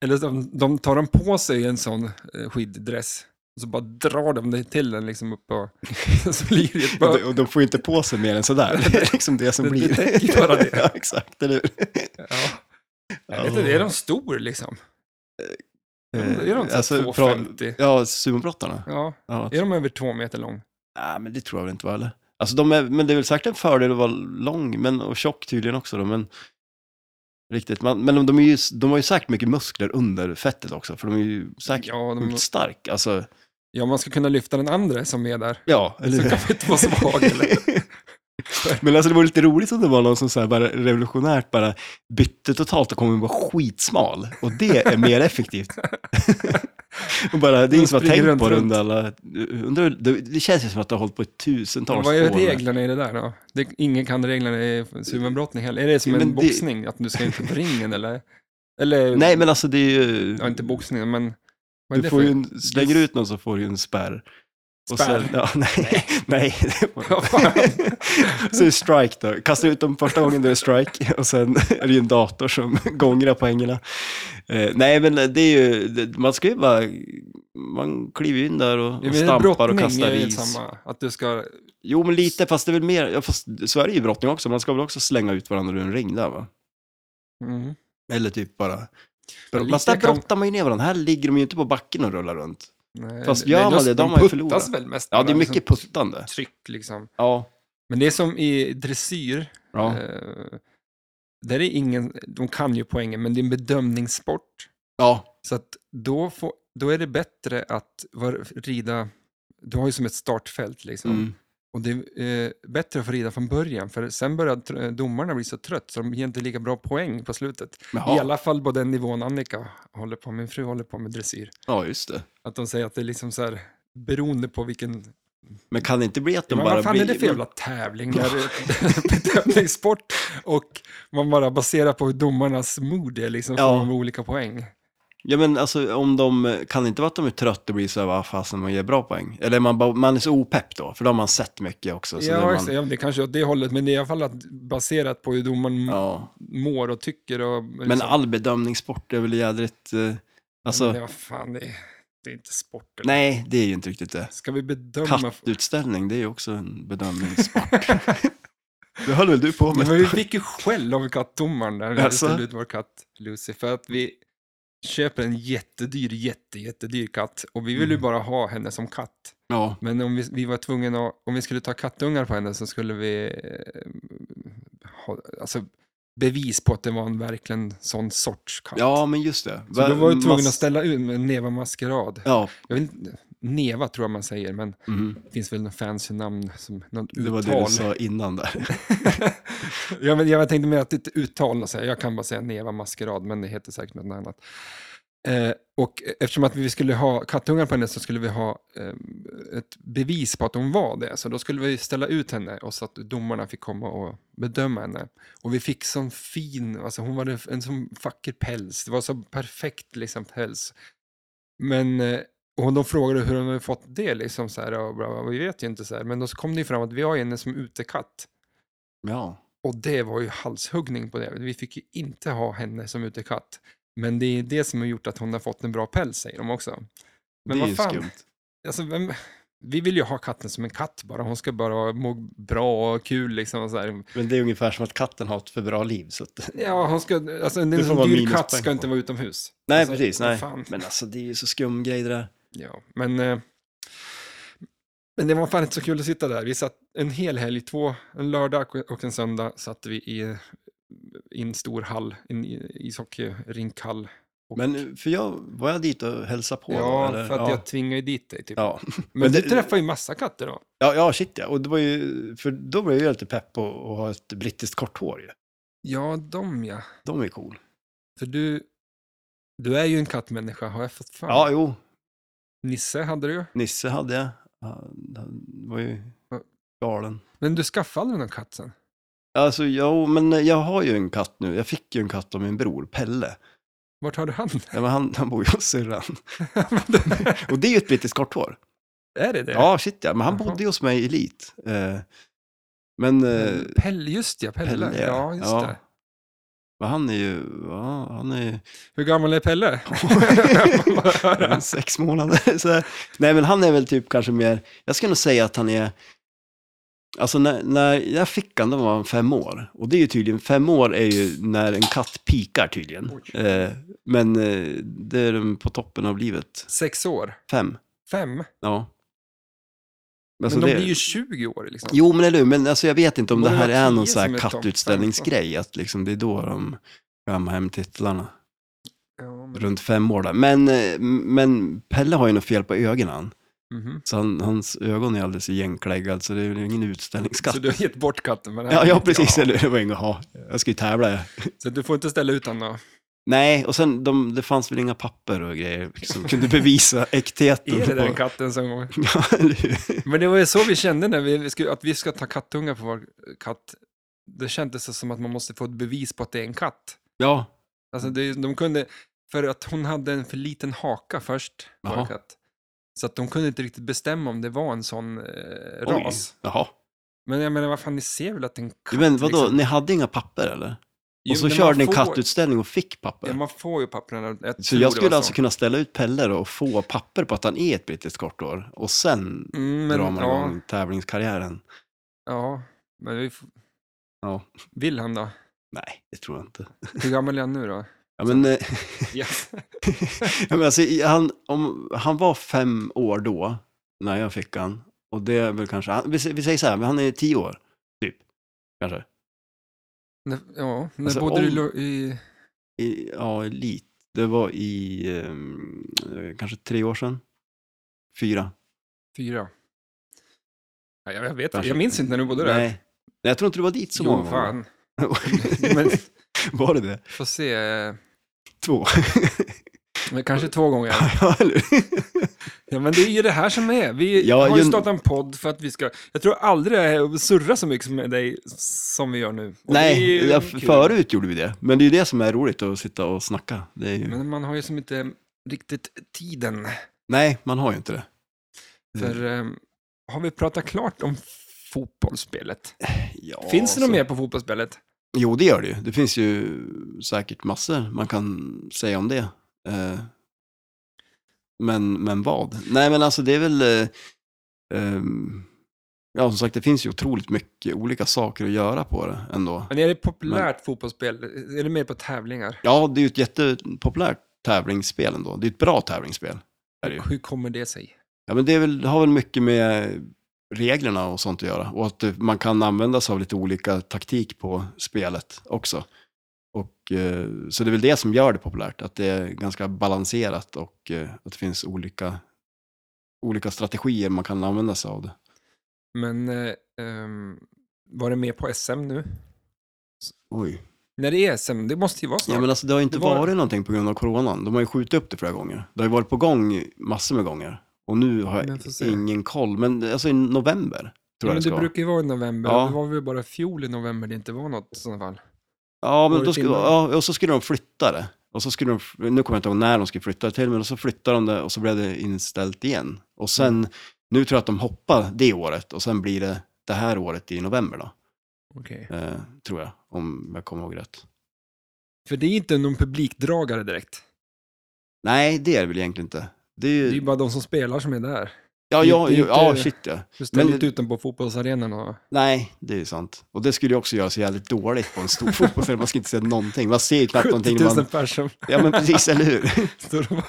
Eller de, de tar de på sig en sån eh, skiddress och så bara drar de det till den liksom upp och så blir det ett
Och
bara,
de, och de får ju inte på sig mer än sådär. Det är liksom det som
Det- det
blir.
täcker bara det.
ja, exakt, eller hur?
ja. Jag vet inte, är de stor liksom? Är de inte
Alltså,
alltså,
bra-
2,50?
Ja, sumobrottarna.
Ja,
Ja,
är de över två meter lång?
Nej, men det tror jag väl inte var heller. Alltså, de är, men det är väl säkert en fördel att vara lång men, och tjock tydligen också. Då, men riktigt. Man, men de, de, är ju, de har ju säkert mycket muskler under fettet också, för de är ju säkert
Ja, de,
sjukt stark. Alltså,
ja, man ska kunna lyfta den andra som är där.
ja, eller
Så
hur?
kan man inte vara svag. Eller?
Men alltså det vore lite roligt om det var någon som så här bara revolutionärt bara bytte totalt och kommer vara skitsmal. Och det är mer effektivt. och bara, det är ingen som har
Springer
tänkt
runt,
på det
runt.
under alla... Undrar, det, det känns ju som att det har hållit på i tusentals
Vad är
år.
reglerna i det där då? Det, ingen kan reglerna i sumenbrottning heller. Är det som
Men
en
det-
boxning, att du ska in på ringen eller? Eller,
Nej, men alltså det är ju...
ja, inte boxning, men vad är
du
det
får
för-
ju en, slänger du ut någon så får du ju en spärr. Och
Spärr.
sen, ja, nej, nej. det var-
Vad fan?
så är det strike då. Kastar ut dem första gången, då är det strike. Och sen är det ju en dator som gångrar poängerna. Eh, nej, men det är ju, det, man ska ju bara, man kliver ju in där och,
Ja,
och
men
stampar och
brottning
kastar
är ju
is.
Samma, att du ska...
Jo, men lite, fast det är väl mer, ja, fast så är det ju i brottning också. Man ska väl också slänga ut varandra ur en ring där va?
Mm.
Eller typ bara...
Men
Fast där
lite kan-
brottar man ju ner varandra. Här ligger de ju inte på backen och rullar runt.
Nej,
Fast
det-
gör
det är
man
just-
det,
de
då har man ju
puttas
förlorat.
väl mest.
Ja, det är
bara,
mycket
liksom,
puttande.
Tryck liksom.
Ja.
Men det är som i dressyr.
ja.
Eh, där är ingen, de kan ju poängen, men det är en bedömningssport.
Ja,
Så att då, får, då är det bättre att var, rida, du har ju som ett startfält liksom.
mm.
Och det är eh, bättre att få rida från början, för sen börjar tr- domarna bli så trött så de ger inte lika bra poäng på slutet. I
Jaha.
alla fall på den nivån Annika håller på, min fru håller på med dressyr.
ja, just det.
Att de säger att det är liksom så här, beroende på vilken...
Men kan det inte bli att de
Men
bara
vad fan
blir...
är det för jävla tävling? Där bedömningssport och man bara baserar på hur domarnas mood är liksom, får
Ja.
man olika poäng.
Ja, men alltså om de... Kan det inte vara att de är trötta och blir så här, vad fasen, man ger bra poäng? Eller man, bara, man är så opepp då, för då har man sett mycket också. Så när
Ja,
man,
exakt. ja, men det kanske är åt det hållet, men det är i alla fall att, baserat på hur domaren
ja.
mår och tycker. Och, liksom,
Men all bedömningssport är väl jädrigt... eh, Alltså,
Men vad fan, det är, det är inte sport. eller?
nej, det är ju inte riktigt det.
Ska vi bedöma?
Kattutställning, det är ju också en bedömningssport. det höll väl du på
Men
med?
vi fick ju skäll av kattdomaren där när vi
Alltså?
ställde ut vår katt Lucy. För att vi köper en jättedyr, jätte, jättedyr katt. Och vi vill ju
Mm.
bara ha henne som katt.
Ja,
Men om vi, vi var tvungna att, om vi skulle ta kattungar på henne så skulle vi eh, ha, alltså, bevis på att det var en verkligen sån sorts katt.
ja, men just det.
Så då var vi tvungna
Mass-
att ställa ut en Neva Maskerad.
Ja,
Jag vill, inte- Neva tror jag man säger, men
mhm.
det finns väl något fancy namn som något
det var
uttal.
det du sa innan där.
ja, men jag tänkte mer att det är ett uttal, och så här. jag kan bara säga Neva Maskerad, men det heter säkert något annat. Eh, och eftersom att vi skulle ha kattungar på henne så skulle vi ha eh, ett bevis på att hon var det. Så då skulle vi ställa ut henne och så att domarna fick komma och bedöma henne. Och vi fick sån fin, alltså hon hade en sån vacker päls. Det var så perfekt liksom päls. Men eh, och de frågade hur de hade fått det liksom så här och bla, bla, bla, vi vet ju inte så här. Men då så kom det ju fram att vi har ju henne som utekatt.
Ja,
Och det var ju halshuggning på det. Vi fick ju inte ha henne som utekatt. Men det är det som har gjort att hon har fått en bra päls, säger de också. Men
det är ju
vad fan,
skumt.
alltså, vem, vi vill ju ha katten som en katt bara. Hon ska bara må bra och kul liksom. Och så här.
Men det är ungefär som att katten har ett för bra liv. Så att...
Ja, hon ska, alltså, en
Du får
sån
vara
dyr
minuspoäng
katt ska
på.
inte vara utomhus.
Nej,
Alltså,
precis.
vad
Nej.
fan.
Men alltså det är ju så skum grej det där.
Ja, men, eh, men det var fan inte så kul att sitta där. Vi satt en hel helg, två, en lördag och- och en söndag satt vi i, i en stor hall, en i- ishockeyrrinkhall. Och-
Men eh, för jag, var jag dit och hälsade på?
ja,
då, eller?
för att
ja.
jag tvingade ju dit dig. Typ.
Ja.
men
men
du
det-
träffade ju massa katter då.
Ja, ja, shit ja. Och det var ju, för då blev jag lite pepp på att ha ett brittiskt kort hår ju.
Ja, de ja.
De är cool.
För du, du är ju en kattmänniska, har jag fått fan.
Ja, jo.
Nisse hade du ju.
Nisse hade jag. Han, han var ju galen.
Men du skaffade aldrig någon katt sen?
Alltså, jo, men jag har ju en katt nu. Jag fick ju en katt av min bror, Pelle.
Vart har du han?
Ja, men han, han bor ju hos syrran. Och det är ju ett brittiskt kort hår.
är det det?
Ja, shit ja. Men han
Jaha.
bodde ju hos mig i Lit. Eh, Men... eh,
Mm, Pelle, just ja, Pelle. Ja, just det.
Men han är ju, ja, han är ju
Hur gammal är Pelle?
han är sex månader. Så här. Nej, men han är väl typ kanske mer, jag skulle nog säga att han är, alltså när, när jag fick han, då var han fem år. Och det är ju tydligen, fem år är ju när en katt pikar tydligen.
Oj.
Eh, men eh, det är den på toppen av livet,
Sex år?
fem.
Fem? Men
Ja. Alltså,
de
det-
blir ju 20 år liksom.
Jo, men eller hur, men alltså, jag vet inte om
Borde
det här
vara
är någon
tio
så
som
här
är topp
kattutställningsgrej, att liksom det är då de kammar hem titlarna.
Ja, men...
Runt fem år där. Men, eh, men Pelle har ju något fel på ögonen.
Mhm.
Så han, hans ögon är alldeles igenkläggad, så det är väl ingen utställningskatt.
Så du har gett bort katten? Men
Ja, ja, precis. Eller det var inget att ha. Jag ska ju tävla. jag.
Så du får inte ställa ut honom?
Nej, och sen de, det fanns väl inga papper och grejer som kunde bevisa äktheten.
Är det den
på-
katten som...
Ja, eller hur?
Men det var ju så vi kände när vi skulle, att vi ska ta kattungar på vår katt. Det kändes så som att man måste få ett bevis på att det är en katt.
ja,
Alltså det, de kunde... För att hon hade en för liten haka först, vår
Jaha.
katt. Så att de kunde inte riktigt bestämma om det var en sån eh,
Oj.
ras.
Jaha.
Men jag menar, vad fan, ni ser väl att en katt...
Men vadå,
liksom-
ni hade inga papper eller?
Jo,
Och så
men
körde
man
ni en
får-
kattutställning och fick
Ja,
papper?
man får ju papperna. Jag
Så
tror
jag
det
skulle
var
alltså
så.
kunna ställa ut Pelle då och få papper på att han är ett brittiskt kortår och sen
Mm,
drar
men,
man
ja,
igång tävlingskarriären?
ja, men vi får...
Ja.
Vill han då?
Nej, det tror jag inte.
Hur gammal är han nu då?
Ja, men, eh,
Ja.
ja, men alltså, i- han, om, han var fem år då, när jag fick han. Och det är väl kanske, han, vi, sä- vi säger så här, men han är tio år, typ. Kanske.
När- Ja, när
Alltså,
bodde du i
om-
Lo- i...
I, ja, lite. Det var i ehm, eh, kanske tre år sedan. Fyra.
Fyra? Ja, jag jag vet inte,
Kanske.
jag minns inte när du bodde där.
Nej. Nej, jag tror inte du var dit så
jo,
många gånger.
fan. Men
Var det det?
får se.
Två?
Men kanske två gånger.
ja, eller
Ja, men det är ju det här som är. Vi
Ja,
har ju
ju-
startat en podd för att vi ska... Jag tror aldrig jag surrar så mycket med dig som vi gör nu. Och det är
Nej,
ju
ja,
kul.
förut gjorde vi det. Men det är ju det som är roligt att sitta och snacka. Det är ju...
Men man har ju som inte riktigt tiden.
Mm. Nej, man har ju inte det.
För ehm, har vi pratat klart om fotbollsspelet?
Ja,
Finns det något
så-
mer på fotbollsspelet?
Jo, det gör det ju. Det finns ju säkert massor man kan säga om det. Eh, Men, men vad? Nej, men alltså det är väl... eh, ehm, Ja, som sagt, det finns ju otroligt mycket olika saker att göra på det ändå.
Men är det populärt fotbollsspel? Är det mer på tävlingar?
Ja, det är ju ett jättepopulärt tävlingsspel ändå. Det är ett bra tävlingsspel. Är det ju.
Hur kommer det sig?
Ja, men det är väl, har väl mycket med reglerna och sånt att göra. Och att eh, man kan använda sig av lite olika taktik på spelet också. Och, eh, så det är väl det som gör det populärt, att det är ganska balanserat och eh, att det finns olika, olika strategier man kan använda sig av det.
Men eh, ehm, var det med på SM nu?
Oj.
När det är SM, det måste ju vara snart.
Ja, men alltså, det har ju inte
Det var-
varit någonting på grund av coronan. De har ju skjutit upp det flera gånger. Det har ju varit på gång massor med gånger. Och nu har
Men
jag
får se.
ingen koll, men alltså i november tror
Ja,
jag
men
det
det
ska vara.
brukar ju vara i november.
Ja.
Det var väl bara fjol i november det inte var något i sådana fall.
Ja, men
Året
då skulle,
innan.
ja, och så skulle de flytta det. Och så skulle de, nu kommer jag inte ihåg när de skulle flytta det till, men så flyttade de det och så blev det inställt igen. Och sen,
Mm.
nu tror jag att de hoppar det året och sen blir det det här året i november då,
Okej.
eh, tror jag, om jag kommer ihåg rätt.
För det är inte någon publikdragare direkt.
Nej, det är det väl egentligen inte. Det är
Det
ju,
är ju bara de som spelar som är där.
ja,
det är
ja,
inte-
ja, shit ja.
Du ställer
Men-
inte ut dem på fotbollsarenan och...
Nej, det är ju sant. Och det skulle ju också göra så jävligt dåligt på en stor fotbollsfilm. Man ska inte se någonting. Man ser ju knappt
70
någonting.
000
när Man,
personer
ja, men precis, eller hur?
står och...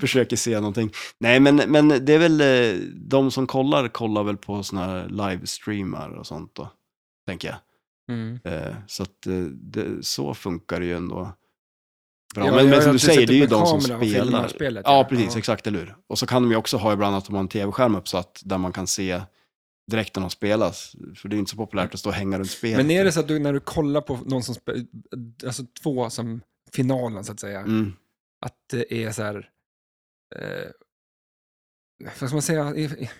försöker se någonting. Nej, men, men det är väl eh, de som kollar, kollar väl på såna här livestreamar och sånt då, tänker jag.
Mm.
Eh, Så att eh, det, så funkar det ju ändå. Bra.
Ja,
men,
ja,
men
ja,
som du
du
säger,
sätter
det är ju
upp typ en
de som
kamera och filmar
spelar.
spelet,
ja,
ja.
precis,
Ja.
exakt, eller hur? Och så kan de ju också ha ibland att de har en tv-skärm uppsatt där man kan se direkt när de spelas. För det är ju inte så populärt att stå och hänga runt spelet.
Men är det så att du när du kollar på någon som spelar, alltså två som finalen så att säga,
Mm.
att det är så här, eh, vad ska man säga, I- i-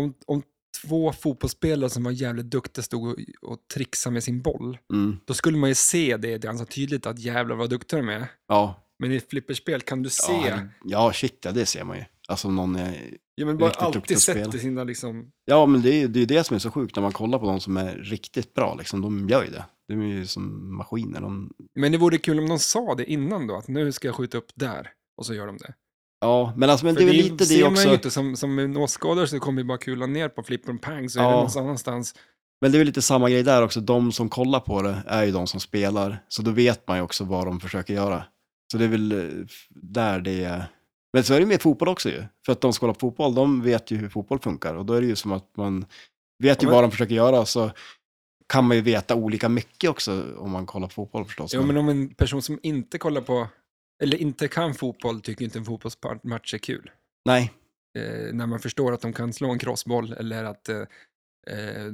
om, om två fotbollsspelare som var jävligt duktiga stod och, och trixade med sin boll,
Mm.
då skulle man ju se det ganska tydligt att jävlar vad duktiga de är.
Ja.
Men i ett flipperspel kan du se,
Ja, herregud. ja, shit, ja, det ser man ju. Alltså om någon är
ja, men bara
riktigt duktig
alltid
att spela.
sett i sina liksom,
Ja, men det är ju det, är ju det som är så sjukt när man kollar på de som är riktigt bra. Liksom, de gör ju det. De är ju som maskiner. De,
men det vore kul om de sa det innan då, att nu ska jag skjuta upp där, och så gör de det.
ja, men, alltså, men
För
det är väl lite
ser
det
man ju
också.
inte, som, som en åskådare så kommer ju bara kulan ner på flippen pang så är
Ja.
det någon annanstans.
Men det är väl lite samma grej där också. De som kollar på det är ju de som spelar. Så då vet man ju också vad de försöker göra. Så det är väl eh, där det är. Men så är det ju med fotboll också ju. För att de som kollar på fotboll, de vet ju hur fotboll funkar. Och då är det ju som att man vet ju
Ja, men-
vad de försöker göra. Så kan man ju veta olika mycket också om man kollar på fotboll förstås.
Jo, men om en person som inte kollar på, eller inte kan fotboll tycker inte en fotbollsmatch är kul.
Nej,
Eh, när man förstår att de kan slå en crossboll eller att eh, eh,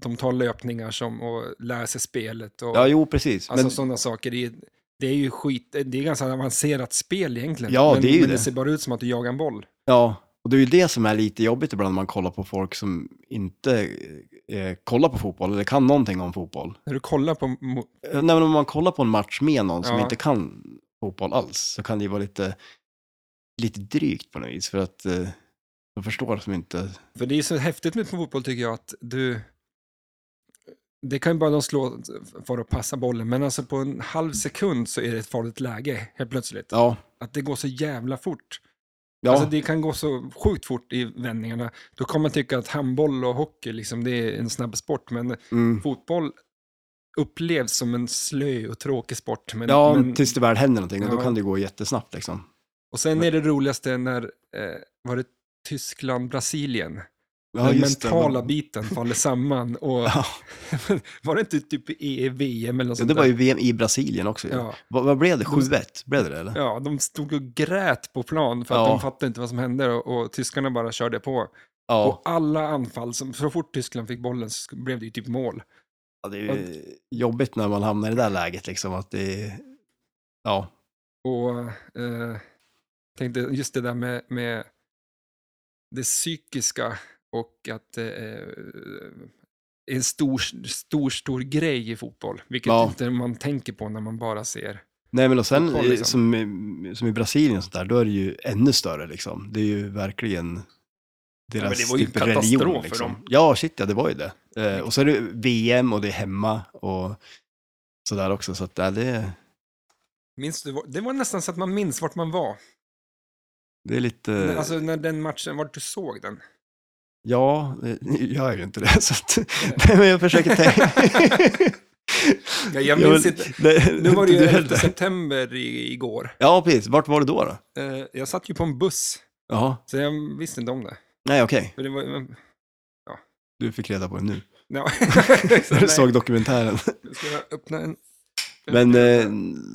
de tar löpningar som, och lär sig spelet. Och,
ja jo precis.
alltså
men...
sådana saker. Det är, det är ju skit, det är ganska avancerat spel egentligen.
Ja,
men,
det är ju
men
det.
det ser bara ut som att du jagar en boll.
Ja, och det är ju det som är lite jobbigt ibland när man kollar på folk som inte eh, kollar på fotboll eller kan någonting om fotboll.
När du kollar på mo-
Eh, Nej, men om man kollar på en match med någon som
Ja.
inte kan fotboll alls så kan det ju vara lite lite drygt på något vis för att eh, de förstår som inte...
För det är så häftigt med fotboll tycker jag att du... Det kan ju bara någon slå för att passa bollen, men alltså på en halv sekund så är det ett farligt läge helt plötsligt.
Ja,
Att det går så jävla fort.
ja.
Alltså det kan gå så sjukt fort i vändningarna. Då kan man tycka att handboll och hockey, liksom, det är en snabb sport, men
mm.
fotboll upplevs som en slö och tråkig sport. Men,
ja
men,
tills det väl händer någonting och
Ja.
då kan det gå jättesnabbt liksom.
och sen är det roligaste när, eh, var det Tyskland, Brasilien?
Ja,
den
just det.
mentala biten faller samman. Och,
Ja,
var det inte typ i VM eller något
ja,
sånt
det var ju
Alltså, där?
VM i Brasilien också. ju.
Ja,
Vad, vad blev det? 7-1? Blev det det, eller?
ja, de stod och grät på plan för att
Ja.
de fattade inte vad som hände och, och tyskarna bara körde på.
Ja.
Och alla anfall, som, så fort Tyskland fick bollen så sk- blev det ju typ mål.
ja, det är ju jobbigt när man hamnar i det där läget liksom att det är... Ja,
Och eh, tänkte just det där med, med det psykiska och att eh, är en stor, stor, stor grej i fotboll, vilket
Ja.
inte man tänker på när man bara ser.
Nej men och sen
Fotboll, liksom.
eh, som, i- som i Brasilien och sånt där, då är det ju ännu större liksom. Det är ju verkligen deras
Ja, men det var ju
typ
katastrof
religion.
för
liksom.
dem.
Ja, shit ja, det var ju det. Eh, och så är det VM och det är hemma och sådär också. Så att, ja, det,
Minns du, vad- det var nästan så att man minns vart man
Eh.
var.
det är lite...
Alltså när den matchen, vart du såg den.
Ja, eh, nu gör jag ju inte det. Så att, nej, men jag försöker tänka.
Ja, jag minns
men-
inte.
det-
Nu var det ju
du-
11 september i, igår.
Ja, precis. Vart var du då? då?
Eh, jag satt ju på en buss,
Jaha.
så jag visste inte om det.
Nej, okej.
För det var, men,
Du fick reda på det nu.
ja.
När du
Nej,
såg dokumentären.
Ska jag öppna en?
Men eh,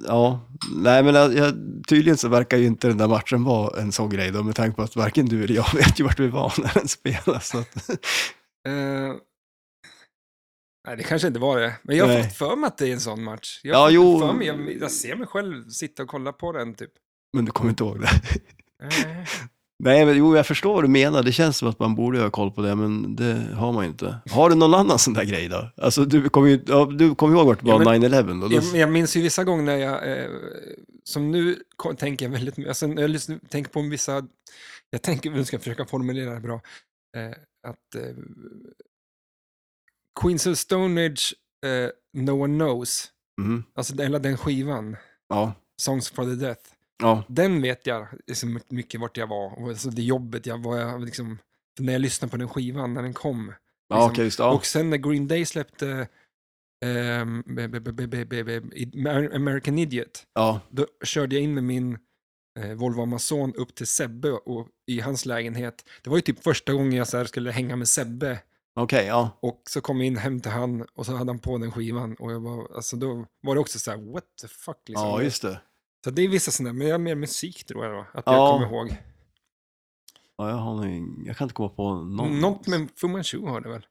ja, nej men eh, jag, jag- tydligen så verkar ju inte den där matchen vara en sån grej då med tanke på att varken du eller jag vet ju vart vi var när den spelas. Så att,
Eh, nej, det kanske inte var det. Men jag har
Nej.
fått för mig att det är en sån match. Jag,
Ja,
har fått
jo.
för mig, jag, jag ser mig själv sitta och kolla på den typ.
men du kommer inte ihåg det.
Eh,
Nej men jo, jag förstår vad du menar. Det känns som att man borde ha koll på det, men det har man ju inte. Har du någon annan sån där grej då? Alltså du kommer ju ja, du kommer ihåg vart det
Ja,
var
men-
9-11 då? då
jag, jag minns ju vissa gånger när jag, eh, som nu ko- tänker jag väldigt mycket, alltså, när jag lyssnar, tänker på vissa, jag tänker, nu ska jag försöka formulera det bra, eh, att eh, Queens of Stone Age, eh, No One Knows,
Mhm.
alltså hela den skivan,
ja,
Songs for the Death,
ja,
Den vet jag liksom mycket vart jag var och alltså det jobbet jag var, jag liksom, när jag lyssnade på den skivan när den kom.
ja
Liksom.
okej, just det. Ja.
Och sen när Green Day släppte ehm, be- be- be- be- be- be- Amer- American Idiot,
ja,
då körde jag in med min eh, Volvo Amazon upp till Sebbe och, i hans lägenhet. Det var ju typ första gången jag så här skulle hänga med Sebbe
okej, ja.
och så kom jag in hem till han och så hade han på den skivan och jag var, alltså då var det också så här what the fuck liksom.
Ja, just det.
Så det är vissa sådana, men jag har mer musik tror jag då, att jag
Ja.
kommer ihåg.
Ja, jag, har nog ing- jag kan inte komma på någon.
Något med Fu Manchu har det väl?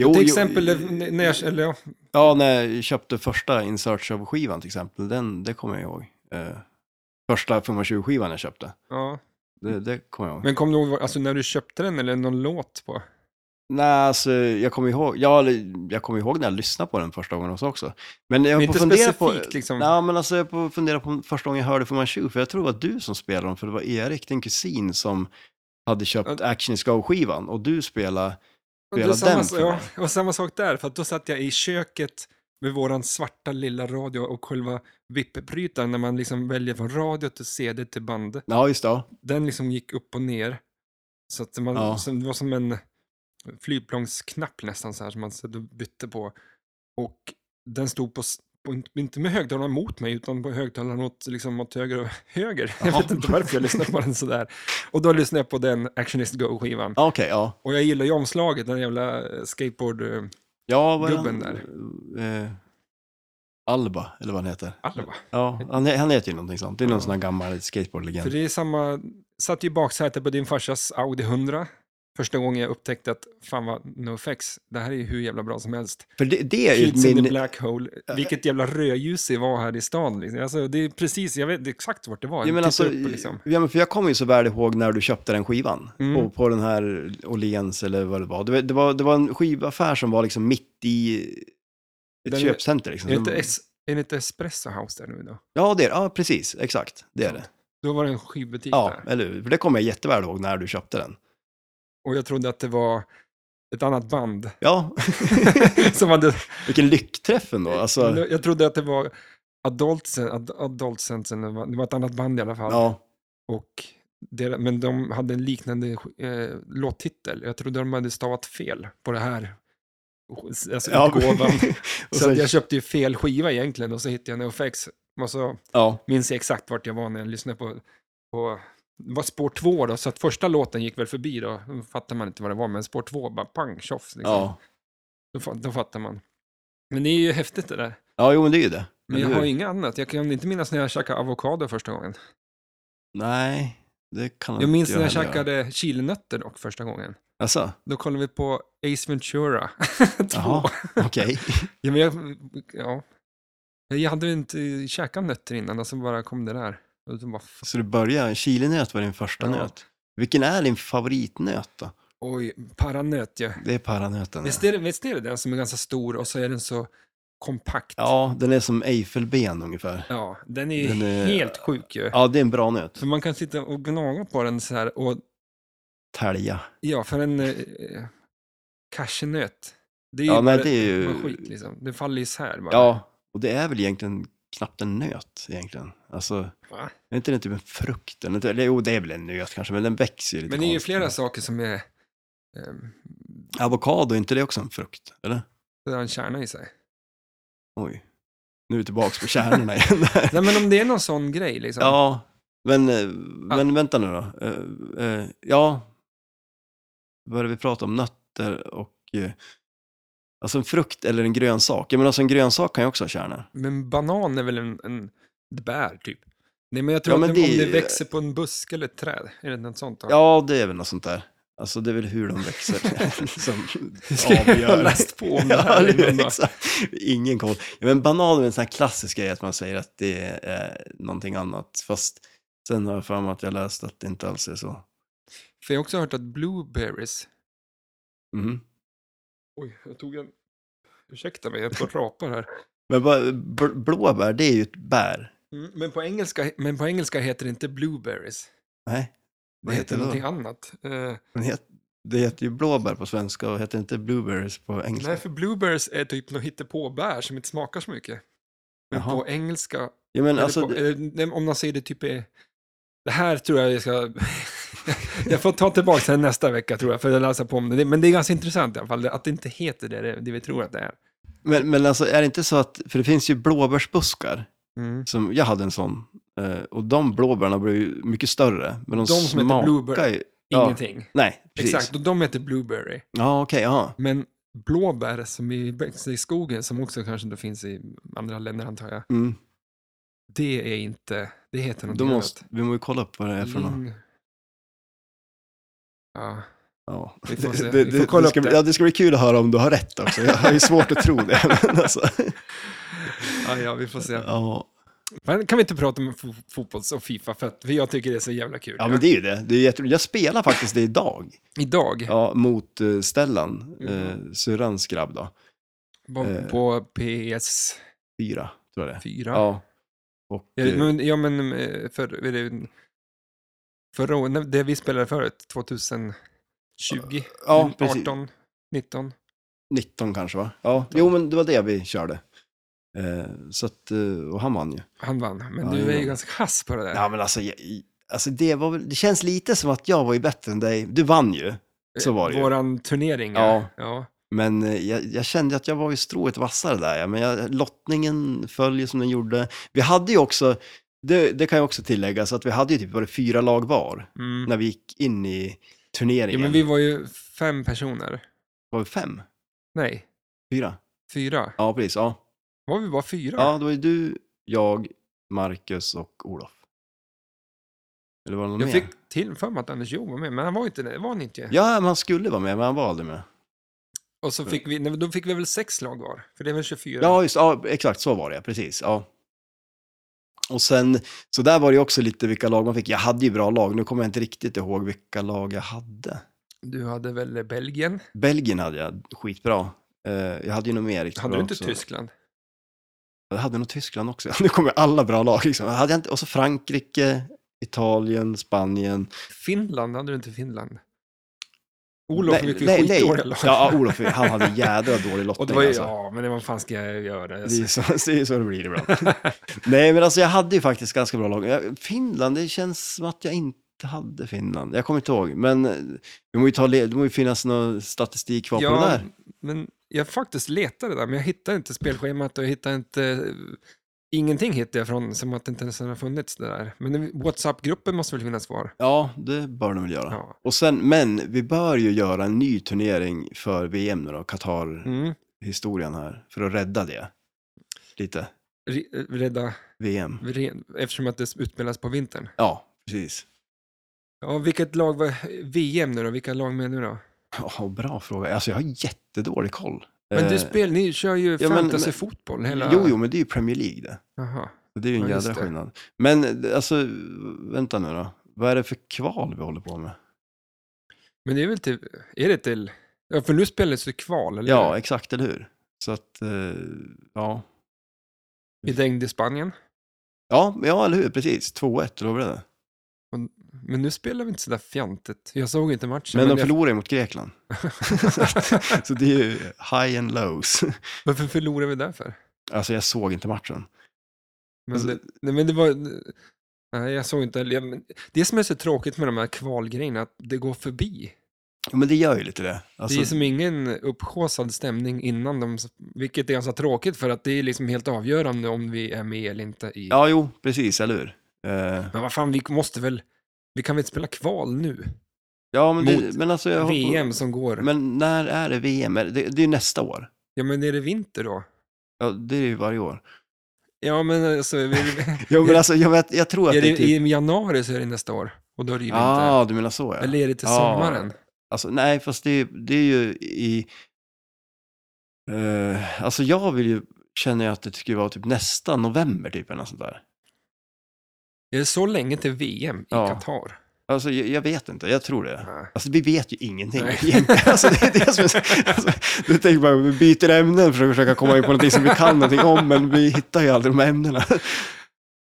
Jo,
Till
jo,
exempel eh, när jag, eller ja,
Ja, när jag köpte första In Search of skivan till exempel, den, det kommer jag ihåg. Eh, första 520-skivan jag köpte,
ja.
det, det kommer jag ihåg.
Men kom du ihåg, vad- alltså när du köpte den eller någon låt på?
Nej, alltså jag kommer ihåg, ja, eller, jag kommer ihåg när jag lyssnade på den första gången också. också. Men jag
Men
får
inte
fundera på,
specifikt liksom.
Nej, men alltså jag får fundera på första gången jag hörde 520, för jag tror det var du som spelade den, för det var Erik, din kusin, som hade köpt Action is Go-skivan och du spelade,
Och det är
spela
samma,
den
s-
för
ja,
mig.
och samma sak där, för att då satt jag i köket med våran svarta lilla radio och själva vippebrytaren när man liksom väljer från radio till CD till band.
ja just det, ja.
Den liksom gick upp och ner. Så att man,
Ja.
så det var som en flygplansknapp nästan så här som man satt och bytte på. Och den stod på, s- på inte med högtalarna mot mig, utan på högtalarna åt, liksom, åt höger och höger. Jag
Jaha.
vet inte varför jag lyssnade på den sådär. Och då lyssnade jag på den Actionist Go-skivan.
Ja, okej, ja.
Och jag gillar ju omslaget, den jävla eh, skateboard... eh,
Ja, vad är
Gubben
han? Eh, Alba, eller vad han heter.
Alva.
Ja, han, han heter ju någonting sånt. Det är någon
Ja.
sån här gammal
För
skateboardlegend.
det är samma... Satt ju i baksätet på din farsas Audi 100. Första gången jag upptäckte att fan vad NoFX, det här är ju hur jävla bra som helst.
För det, det är ju
Kids in the
min...
Black Hole. Vilket jävla rödljus det var här i stan. Liksom. Alltså, det är precis, jag vet exakt vart det var.
Ja, men
Titta
alltså,
upp, liksom.
ja, men för jag kommer ju så väl ihåg när du köpte den skivan.
Mm.
Och på den här Åhléns eller vad det var. Det, var- det var. det var en skivaffär som var liksom mitt i ett
Den är-
köpcenter. Liksom.
Är det
Som-
inte es- är det inte Espresso House där nu då?
Ja, det är, ja, precis. Exakt. Det är det.
Då var det en skivbutik
Ja,
där.
eller hur? För det kommer jag jätteväl ihåg när du köpte den.
Och jag trodde att det var ett annat band.
Ja,
som hade,
vilken lyckträff ändå. Alltså,
jag trodde att det var Adult, Sen- Ad, Adult Sense, eller vad- det var ett annat band i alla fall.
ja,
Och det, men de hade en liknande eh, låttitel. Jag trodde de hade stavat fel på det här. Alltså utgåvan.
och
Så
sen,
att jag köpte ju fel skiva egentligen och så hittade jag NoFX. Och så
ja,
minns jag exakt vart jag var när jag lyssnade på, på det var spår två då, så att första låten gick väl förbi då. Då fattar man inte vad det var, men spår två bara pang, tjoff. Liksom.
ja.
Då, fa- då fattar man. Men det är ju häftigt det där.
ja, jo men det är ju det.
Men
Eller
jag
hur?
har inget annat. Jag kan inte minnas när jag käkade avokado första gången.
Nej, det kan
Jag minns
inte
när jag
heller göra.
käkade chilinötter dock första gången.
Alltså,
Då kollade vi på Ace Ventura 2.
Jaha. okej.
Ja, men jag, ja. jag hade ju inte käkat nötter innan och så bara kom det där. Och så bara, fan,
Så du börjar, chilinöt var din första
Ja.
nöt. Vilken är din favoritnöt då?
oj, paranöt ja.
Det är paranöten.
Visst är, det, visst är det den som är ganska stor och så är den så kompakt?
Ja, den är som Eiffelben ungefär.
Ja, den är ju
Den är-
helt sjuk ju.
Ja, det är en bra nöt.
För man kan sitta och gnaga på den så här och
Tälja.
ja, för en eh, cashewnöt. Det är
Ja, nej,
bara-
det är ju-
bara skit liksom. Det faller isär bara.
Ja, och det är väl egentligen knappt en nöt egentligen. Alltså,
Va?
är inte det typ en frukt? Eller, inte- eller, jo, det är väl en nöt kanske, men den växer ju lite
Men det är ju
konstigt.
flera saker som är ehm,
Avokado, är inte det också en frukt? Eller?
det har en kärna i sig.
Oj. Nu är vi tillbaka på kärnorna igen. där.
Nej, men om det är någon sån grej liksom.
ja, men, eh, men vänta nu då. Eh, eh, Ja, börjar vi prata om nötter och... eh, Alltså en frukt eller en grönsak. Jag menar, alltså en grönsak kan ju också ha kärnor.
Men banan är väl en, en ett bär typ? Nej, men jag tror
Ja, men
att
det
om
är
det
ju-
växer på en buske eller ett träd, är det något sånt? Då?
Ja, det är väl något sånt där. Alltså det är väl hur de växer som avgör.
Jag har läst på om det
Ja,
här
eller hur?
innan då.
Exakt. Ingen koll. Ja, men banan är en sån här klassisk grej att man säger att det är eh, någonting annat. Fast sen har jag för mig att jag läst att det inte alls är så.
För jag har också hört att blueberries... Mm-hmm.
Mhm.
Oj, jag tog en... Ursäkta mig, jag får rapar här.
Men bara, bl- blåbär, det är ju ett bär.
Mm, Men på, engelska, men på engelska heter det inte blueberries.
Nej,
Det
vad heter
heter
det
någonting
då?
annat. Eh,
Det heter, det heter ju blåbär på svenska och heter inte blueberries på engelska.
nej, för blueberries är typ något hittepåbär som inte smakar så mycket. Men
Jaha.
på engelska...
ja, men
eller
alltså,
på,
det-
eh, nej, om man säger det typ är... Det här tror jag jag ska... jag får ta tillbaka det nästa vecka tror jag, för att läsa på om det. Men det är ganska intressant i alla fall, att det inte heter det, det, det vi tror att det är.
men, men alltså är det inte så att, för det finns ju blåbärsbuskar.
Mm.
Som, jag hade en sån. eh, Och de blåbärna blev ju mycket större. Men de,
De som heter
smakar
blueberry.
ju... Ja,
Ingenting.
Nej, precis.
Exakt, och de heter blueberry.
Ja, okej, ja.
Men blåbär som är växer i skogen, som också kanske inte finns i andra länder antar jag,
Mm.
det är inte, det heter något
Då måste, vi måste kolla upp vad det är för något.
Ling- Ja,
Ja.
Vi får se.
Det,
Vi
det,
får
det,
kolla
det,
upp
ska, bli-
det.
ja, det ska bli kul att höra om du har rätt också. Jag har ju svårt att tro det. Men alltså,
ja, ja, vi får se.
ja.
Men kan vi inte prata om fo- fotbolls och Fifa, för att jag tycker det är så jävla kul.
ja, men det är ju det. det är jätteroligt. jag spelar faktiskt det idag.
Idag,
Ja, mot eh, Stellan, uh,
Mhm.
syrrans grabb då.
på,
eh.
på PS4,
Fyra, tror jag det är. Ja. Och,
Ja,
eh,
men, ja, men eh, för, är det, förra året, nej, det vi spelade förut, mm, 2020,
ja, precis.
18, 19.
19 kanske va? Ja, jo men det var det vi körde. Eh, så att, eh, och han vann ju.
Han vann, men
Ja, det
du
gjorde
är ju
han.
ganska kass på det där.
Ja men alltså, jag, alltså det, var väl, det känns lite som att jag var ju bättre än dig. Du vann ju, så var det ju.
Våran turnering,
Ja.
ja. ja.
men eh, jag, jag kände att jag var ju strået vassare där. Ja, men jag, lottningen föll ju som den gjorde. Vi hade ju också, det, det kan jag också tillägga, så att vi hade ju typ var det fyra lag var
Mm.
när vi gick in i
ja
turneringen.
men vi var ju fem personer.
Var vi fem?
Nej,
Fyra?
fyra.
Ja, precis. Ja,
Var vi bara fyra?
ja då var ju du, jag, Marcus och Olof. Eller var det någon
Jag
mer?
fick till för mig att Anders Jo var med, men han var inte det. Var han inte?
Ja, men han skulle vara med, men han var aldrig med.
Och så fick vi, nej, men då fick vi väl sex lag var, för det är väl 24?
Mm. Ja, just, ja exakt så var det, precis. Ja. Och sen, så där var det ju också lite vilka lag man fick. Jag hade ju bra lag, nu kommer jag inte riktigt ihåg vilka lag jag hade.
Du hade väl Belgien?
Belgien hade jag, skitbra. Eh, jag hade ju nog mer riktigt
Hade
bra
du inte
också.
Tyskland?
Jag hade nog Tyskland också. Nu kommer alla bra lag liksom. Jag hade jag inte, och så Frankrike, Italien, Spanien.
Finland, hade du inte Finland? Olof
Nej,
fick ju
nej, nej.
skitdålig lag.
Ja, ja, Olof, han hade jädra dålig lottning.
Och det var ju,
alltså.
ja, men det- vad fan ska jag göra? Alltså, Jag
Det är, så, det är så det blir ibland. Nej, men alltså jag hade ju faktiskt ganska bra lag. Jag- Finland, det känns som att jag inte hade Finland. Jag kommer inte ihåg, men eh, det måste ju, ta, le- det må ju finnas någon statistik kvar på det där.
men jag faktiskt letade där, men jag hittade inte spelschemat och jag hittade inte... eh, Ingenting hittade jag från, som att det inte ens har funnits det där. Men den- WhatsApp-gruppen måste väl finnas kvar?
Ja, det bör de väl göra.
Ja.
Och sen, men vi bör ju göra en ny turnering för VM nu då,
Mm.
Qatar-historien här, för att rädda det. Lite,
Re- eh, Rädda,
VM.
re- eftersom att det utspelas på vintern.
Ja, precis.
Ja, vilket lag var VM nu då? Vilka lag menar
Eh,
du då?
Ja, bra fråga. Alltså jag har jättedålig koll.
Men du
Eh,
spel, ni kör ju
ja, men-
fantasyfotboll hela...
Jo, jo, men det är ju Premier League det.
Jaha.
Så Det är ju en
Ja, just
jädra
det.
skillnad. Men alltså, vänta nu då. Vad är det för kval vi håller på med?
Men det är väl till... Är det till... Ja, för nu spelas ju kval, eller
Ja, exakt, eller hur? Så att, eh, ja.
I dängd i Spanien.
Ja, men ja, eller hur? Precis. 2-1, lovade det.
Men nu spelar vi inte sådär fjantigt. Jag såg inte matchen.
Men de
jag-
förlorar ju mot Grekland. Så det är ju high and lows.
Varför förlorade vi därför?
Alltså jag såg inte matchen.
Men,
Alltså-
det, nej, men det var... Nej, jag såg inte. jag- men Det som är så tråkigt med de här kvalgrejerna, att det går förbi.
Ja, men det gör ju lite det. Alltså,
Det är som ingen upphaussad stämning innan de... Vilket är ganska tråkigt, för att det är liksom helt avgörande om vi är med eller inte i...
Ja, jo, precis, eller hur? Eh,
Men vad fan, vi måste väl... Vi kan väl inte spela kval nu?
ja, men,
Mot
det, men alltså jag
VM som går.
Men när är det VM? Är Det, det är ju nästa år.
Ja, men är det vinter då?
Ja, det är ju varje år.
Ja, men alltså... Är det,
Jo, men alltså jag, vet, jag tror att
är
det
det,
är typ...
I januari så är det nästa år, och då är det ju vinter.
Ja, ah, du menar så ja.
Eller är det till
Ja.
sommaren?
Alltså, nej, fast det, är- det är ju i... Eh, alltså jag vill ju, känner jag att det skulle vara typ nästa november typ eller något sånt där.
Är det så länge till VM i
Ja.
Qatar? Ah.
Alltså jag, jag vet inte, jag tror det.
Nej.
Alltså vi vet ju ingenting
Nej.
egentligen. Alltså, det är det som är, så- alltså, du tänker bara, vi byter ämnen för att försöka komma in på någonting som vi kan någonting om, men vi hittar ju aldrig de här ämnena.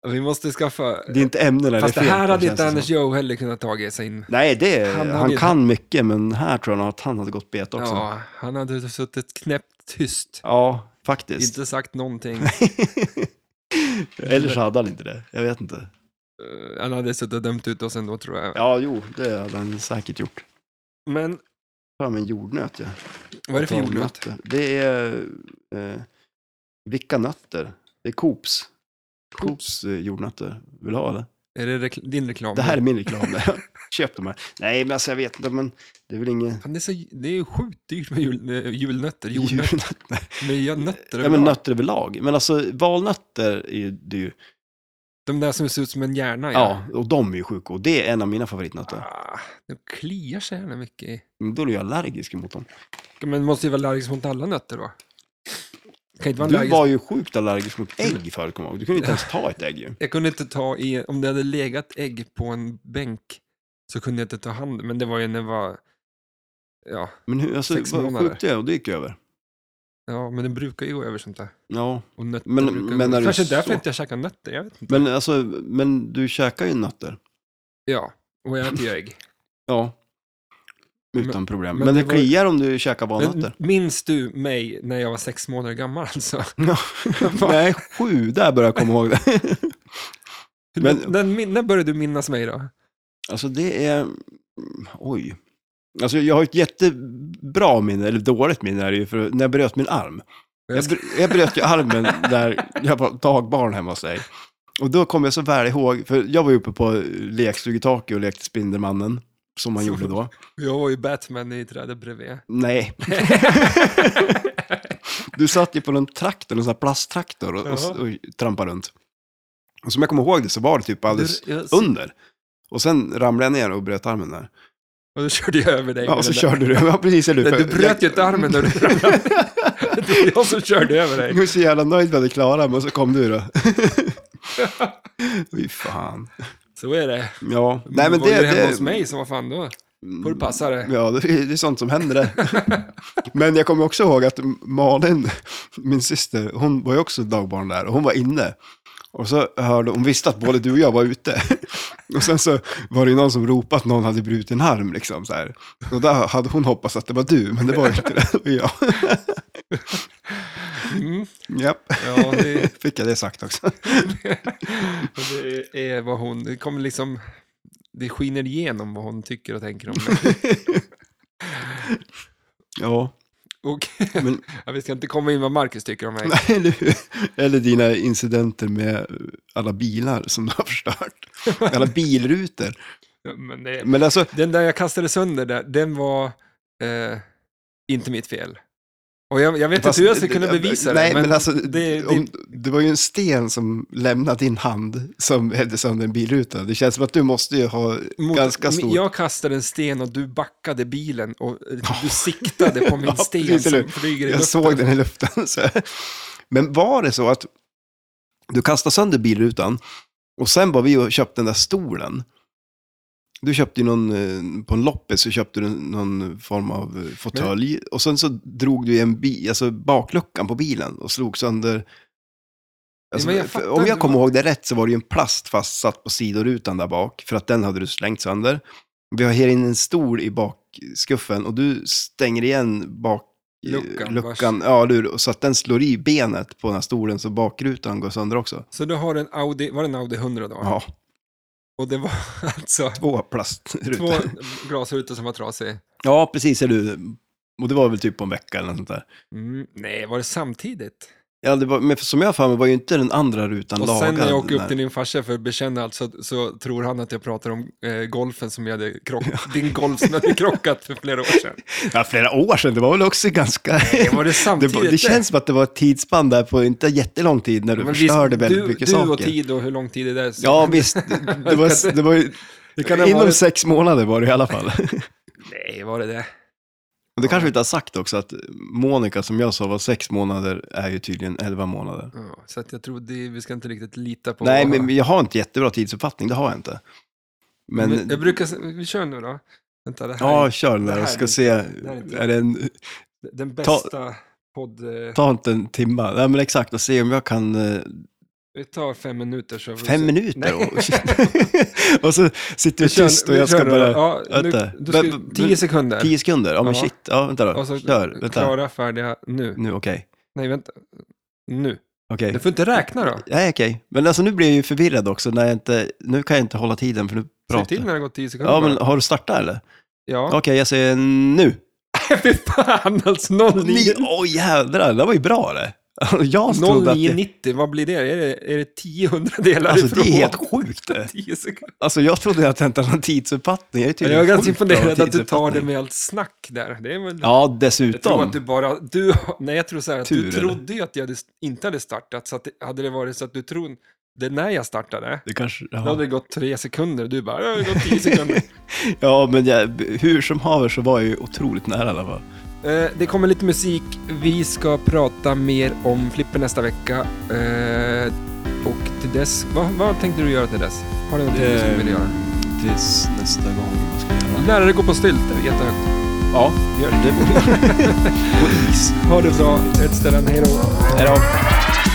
Vi måste skaffa...
Det är inte ämnena
Fast det
är fel
här
på,
hade
känns
inte
det
Anders
som.
Joe heller kunnat ta sig in.
Nej, det,
Han
han,
hade ju-
kan mycket, men här tror jag nog att han hade gått bet också. Ja,
Ja, han hade suttit knäppt tyst.
faktiskt.
Inte sagt någonting.
Eller så hade han inte det, jag vet inte.
Eh, Han hade suttit och dömt ut oss ändå tror jag.
Ja, jo, det hade han säkert gjort.
Men
Fan, men jordnöt ja.
vad är det för jordnöt?
Nötter. Det är... Eh, vilka nötter? Det är Coops.
Coops.
Coops eh, jordnötter. Vill du ha det?
Är det rekl- din reklam?
Det här är min reklam. där. Köp de här. Nej, men alltså jag vet inte, men det är väl inget...
Fan, det, är så, det är ju sjukt dyrt med jul, eh, julnötter, jordnötter,
Jordnötter.
med ja, nötter
Ja, men
överlag.
nötter överlag. Men alltså valnötter är ju... Det är ju
De där som ser ut som en hjärna.
ja. och de är ju sjuka. Och det är en av mina favoritnötter.
Ah, de kliar sig gärna mycket i.
Men Då är jag allergisk mot dem.
Men måste ju vara allergisk mot alla nötter då? Kan inte vara
Du
allergisk-
var ju sjukt allergisk mot ägg förr, kommer jag ihåg. Du kunde inte ens ta ett ägg ju.
Jag kunde inte ta i, om det hade legat ägg på en bänk så kunde jag inte ta hand men det var ju när jag var, ja,
Men hur, alltså,
Sex
vad
månader.
sjukt det är, och det gick ju över.
ja men det brukar ju gå över sånt där.
Ja,
Och nötter
Men-
brukar
men när du
Kanske därför
så-
inte jag käkar nötter, jag vet inte.
men alltså, men du käkar ju nötter.
Ja, och jag äter ju ägg.
Ja. Utan problem.
men
Men,
det
det,
var-
kliar om du käkar
Men,
valnötter.
minns du mig när jag var sex månader gammal alltså?
Ja. Nej, sju, där börjar jag komma ihåg det. Men-
Men... Den, min- när började du minnas mig då?
Alltså det är, oj. Alltså jag har ett jättebra minne, eller dåligt minne är det ju, för när jag bröt min arm.
Jag
Jag, br- jag bröt ju armen när jag var dagbarn hemma hos dig. Och då kommer jag så väl ihåg, för jag var ju uppe på lekstugetaket och lekte Spindelmannen, som man
Så-
gjorde då.
Jag var ju Batman i trädet bredvid.
Nej. du satt ju på en traktor, en sån här plasttraktor och, och, och trampade runt. Och som jag kommer ihåg det så var det typ alldeles
Du- jag-
under. Och sen ramlade jag ner och bröt armen där.
Och då körde jag över dig.
Ja,
med
och så
den där.
körde du. Ja, precis. Eller, hur?
Nej,
För
du bröt ju inte armen när du ramlade. Det är jag som körde över
Jag
dig.
var så jävla nöjd med att jag klarade mig, och så kom du då. Fy fan.
Så är det.
Ja, nej men
var
det...
du hemma
det Mm.
hos mig, så vad fan då? får du passa dig.
Ja, det är, det är sånt som händer där. men jag kommer också ihåg att Malin, min syster, hon var ju också dagbarn där och hon var inne. Och så hörde hon, visste att både du och jag var ute. Och sen så var det ju någon som ropade att någon hade brutit en arm liksom så här. Och där hade hon hoppats att det var du, men det var inte det. Det var jag.
Mm.
Japp,
Ja, det,
fick jag det sagt också.
det är vad hon, det kommer liksom, det skiner igenom vad hon tycker och tänker om
Ja,
det. Och,
men
ja, vi ska inte komma in vad Marcus tycker om mig.
nej, eller hur? Eller dina incidenter med alla bilar som du har förstört. Alla bilrutor.
Men det,
Men alltså,
Den där jag kastade sönder, där, den var eh, inte mitt fel. Och jag, jag vet
Fast-
inte hur jag ska kunna bevisa det.
nej, men, alltså,
det- det-
om, det var ju en sten som lämnade din hand som hällde sönder en bilruta. Det känns som att du måste ju ha
mot-
ganska
men
stor...
Jag kastade en sten och du backade bilen och eh, du siktade på min
Ja,
sten
precis, eller
som
hur?
flyger i
Jag
luften.
såg den i luften. Så. här. Men var det så att du kastade sönder bilrutan och sen var vi och köpte den där stolen. Du köpte ju någon, eh, på en loppis så köpte du någon form av eh, fåtölj och sen så drog du i en bi, alltså bakluckan på bilen och slog sönder. Alltså,
men jag
för-
fattar
om jag
inte
kommer
vad-
ihåg det rätt så var det ju en plast fastsatt på sidorutan där bak för att den hade du slängt sönder. Vi har här in en stol i bakskuffen och du stänger igen bak eh,
Luckan,
luckan ja, eller hur? Och så att den slår i benet på den här stolen så bakrutan går sönder också.
Så du har en Audi, var det en Audi 100 då?
Ja,
Och det var alltså
två plastrutor.
två glasrutor som var trasiga.
Ja, precis. Eller hur? Och det var väl typ på en vecka eller något sånt där.
Mm, nej, var det samtidigt?
Ja, det var, men som jag har för mig var ju inte den andra rutan
Och
lagad.
sen när jag åker upp
när-
till din farsa för att bekänna allt så, så tror han att jag pratar om eh, golfen som jag hade krockat, din golf som jag hade krockat för flera år sedan.
Ja, flera år sedan. Det var väl också ganska...
Det var det
Det,
samtidigt.
var, det känns som att det var ett tidsspann där på inte jättelång tid när du
Men visst,
förstörde väldigt
du,
mycket
du
saker.
och tid och hur lång tid det är. Så.
Ja, visst. Det, det var, det var, ju-
kan ha
inom
varit-
sex månader var det i alla fall.
Nej, var det det?
Och det kanske vi inte har sagt också, att Monica som jag sa var sex månader är ju tydligen elva månader.
Ja, så att jag tror det, vi ska inte riktigt lita på
Nej,
vad-
men jag har inte jättebra tidsuppfattning, det har jag inte. Men,
Men Jag brukar, s- vi kör nu då. Vänta, det här
ja,
är
kör den
det
där
här
och ska
är-
se.
här är inte-
är det en,
den bästa podd... eh,
ta inte en timma. Nej, men exakt, och se om jag kan eh,
Vi tar fem minuter. Så får vi
fem
se.
minuter.
Nej.
Och, och så sitter
Vi
du
kör-
tyst och
vi
jag ska
kör nu då.
bara...
Ja, nu,
Vänta.
du ska,
Men- men-
tio sekunder.
Tio sekunder? Ja, men
Ja.
shit. Ja, vänta då.
Och så
Kör, vänta.
klara, färdiga, nu.
Nu, okej.
Nej, vänta. Nu.
Okej.
Du får inte räkna då.
Nej, okej. Men alltså nu blir jag ju förvirrad också när jag inte... Nu kan jag inte hålla tiden för nu
Säg
pratar
till när det har gått 10 sekunder.
Ja,
bara.
men har du startat eller? Okej,
ja.
jag säger nu.
Fy fan alltså, 09.
Ni, åh jädrar, det var ju bra det. Jag trodde att det,
0990, vad blir det? Är det, är det 10 hundradelar
alltså,
ifrån?
det är helt sjukt det.
10 sekunder.
Alltså jag trodde att jag inte hade någon tidsuppfattning. Jag är
Jag
tydligen
är ganska
sjukt bra
imponerad
med
att du tar det
tidsuppfattning.
med allt snack där. Det är väl...
Ja,
Jag tror att
dessutom.
du bara, du, nej jag tror så här att du
Tur, eller?
trodde ju att jag hade, inte hade startat, så att det, hade det varit så att du trodde, det när jag startade,
Det kanske,
då hade
ja.
det gått tre sekunder och du bara, "Ja, det har gått 10 sekunder.
ja, men jag, hur som haver så var jag ju otroligt nära i alla fall.
Eh, Det kommer lite musik. Vi ska prata mer om flipper nästa vecka. Eh, Och till dess, vad, vad tänkte du göra till dess? Har du någonting som du vill göra?
Ehm. Tills nästa gång, vad ska jag göra?
Lärare går på stylt, det är jättehögt.
Ja, gör det. På is.
Ha det bra, ett ställe, hej då.
Hej då.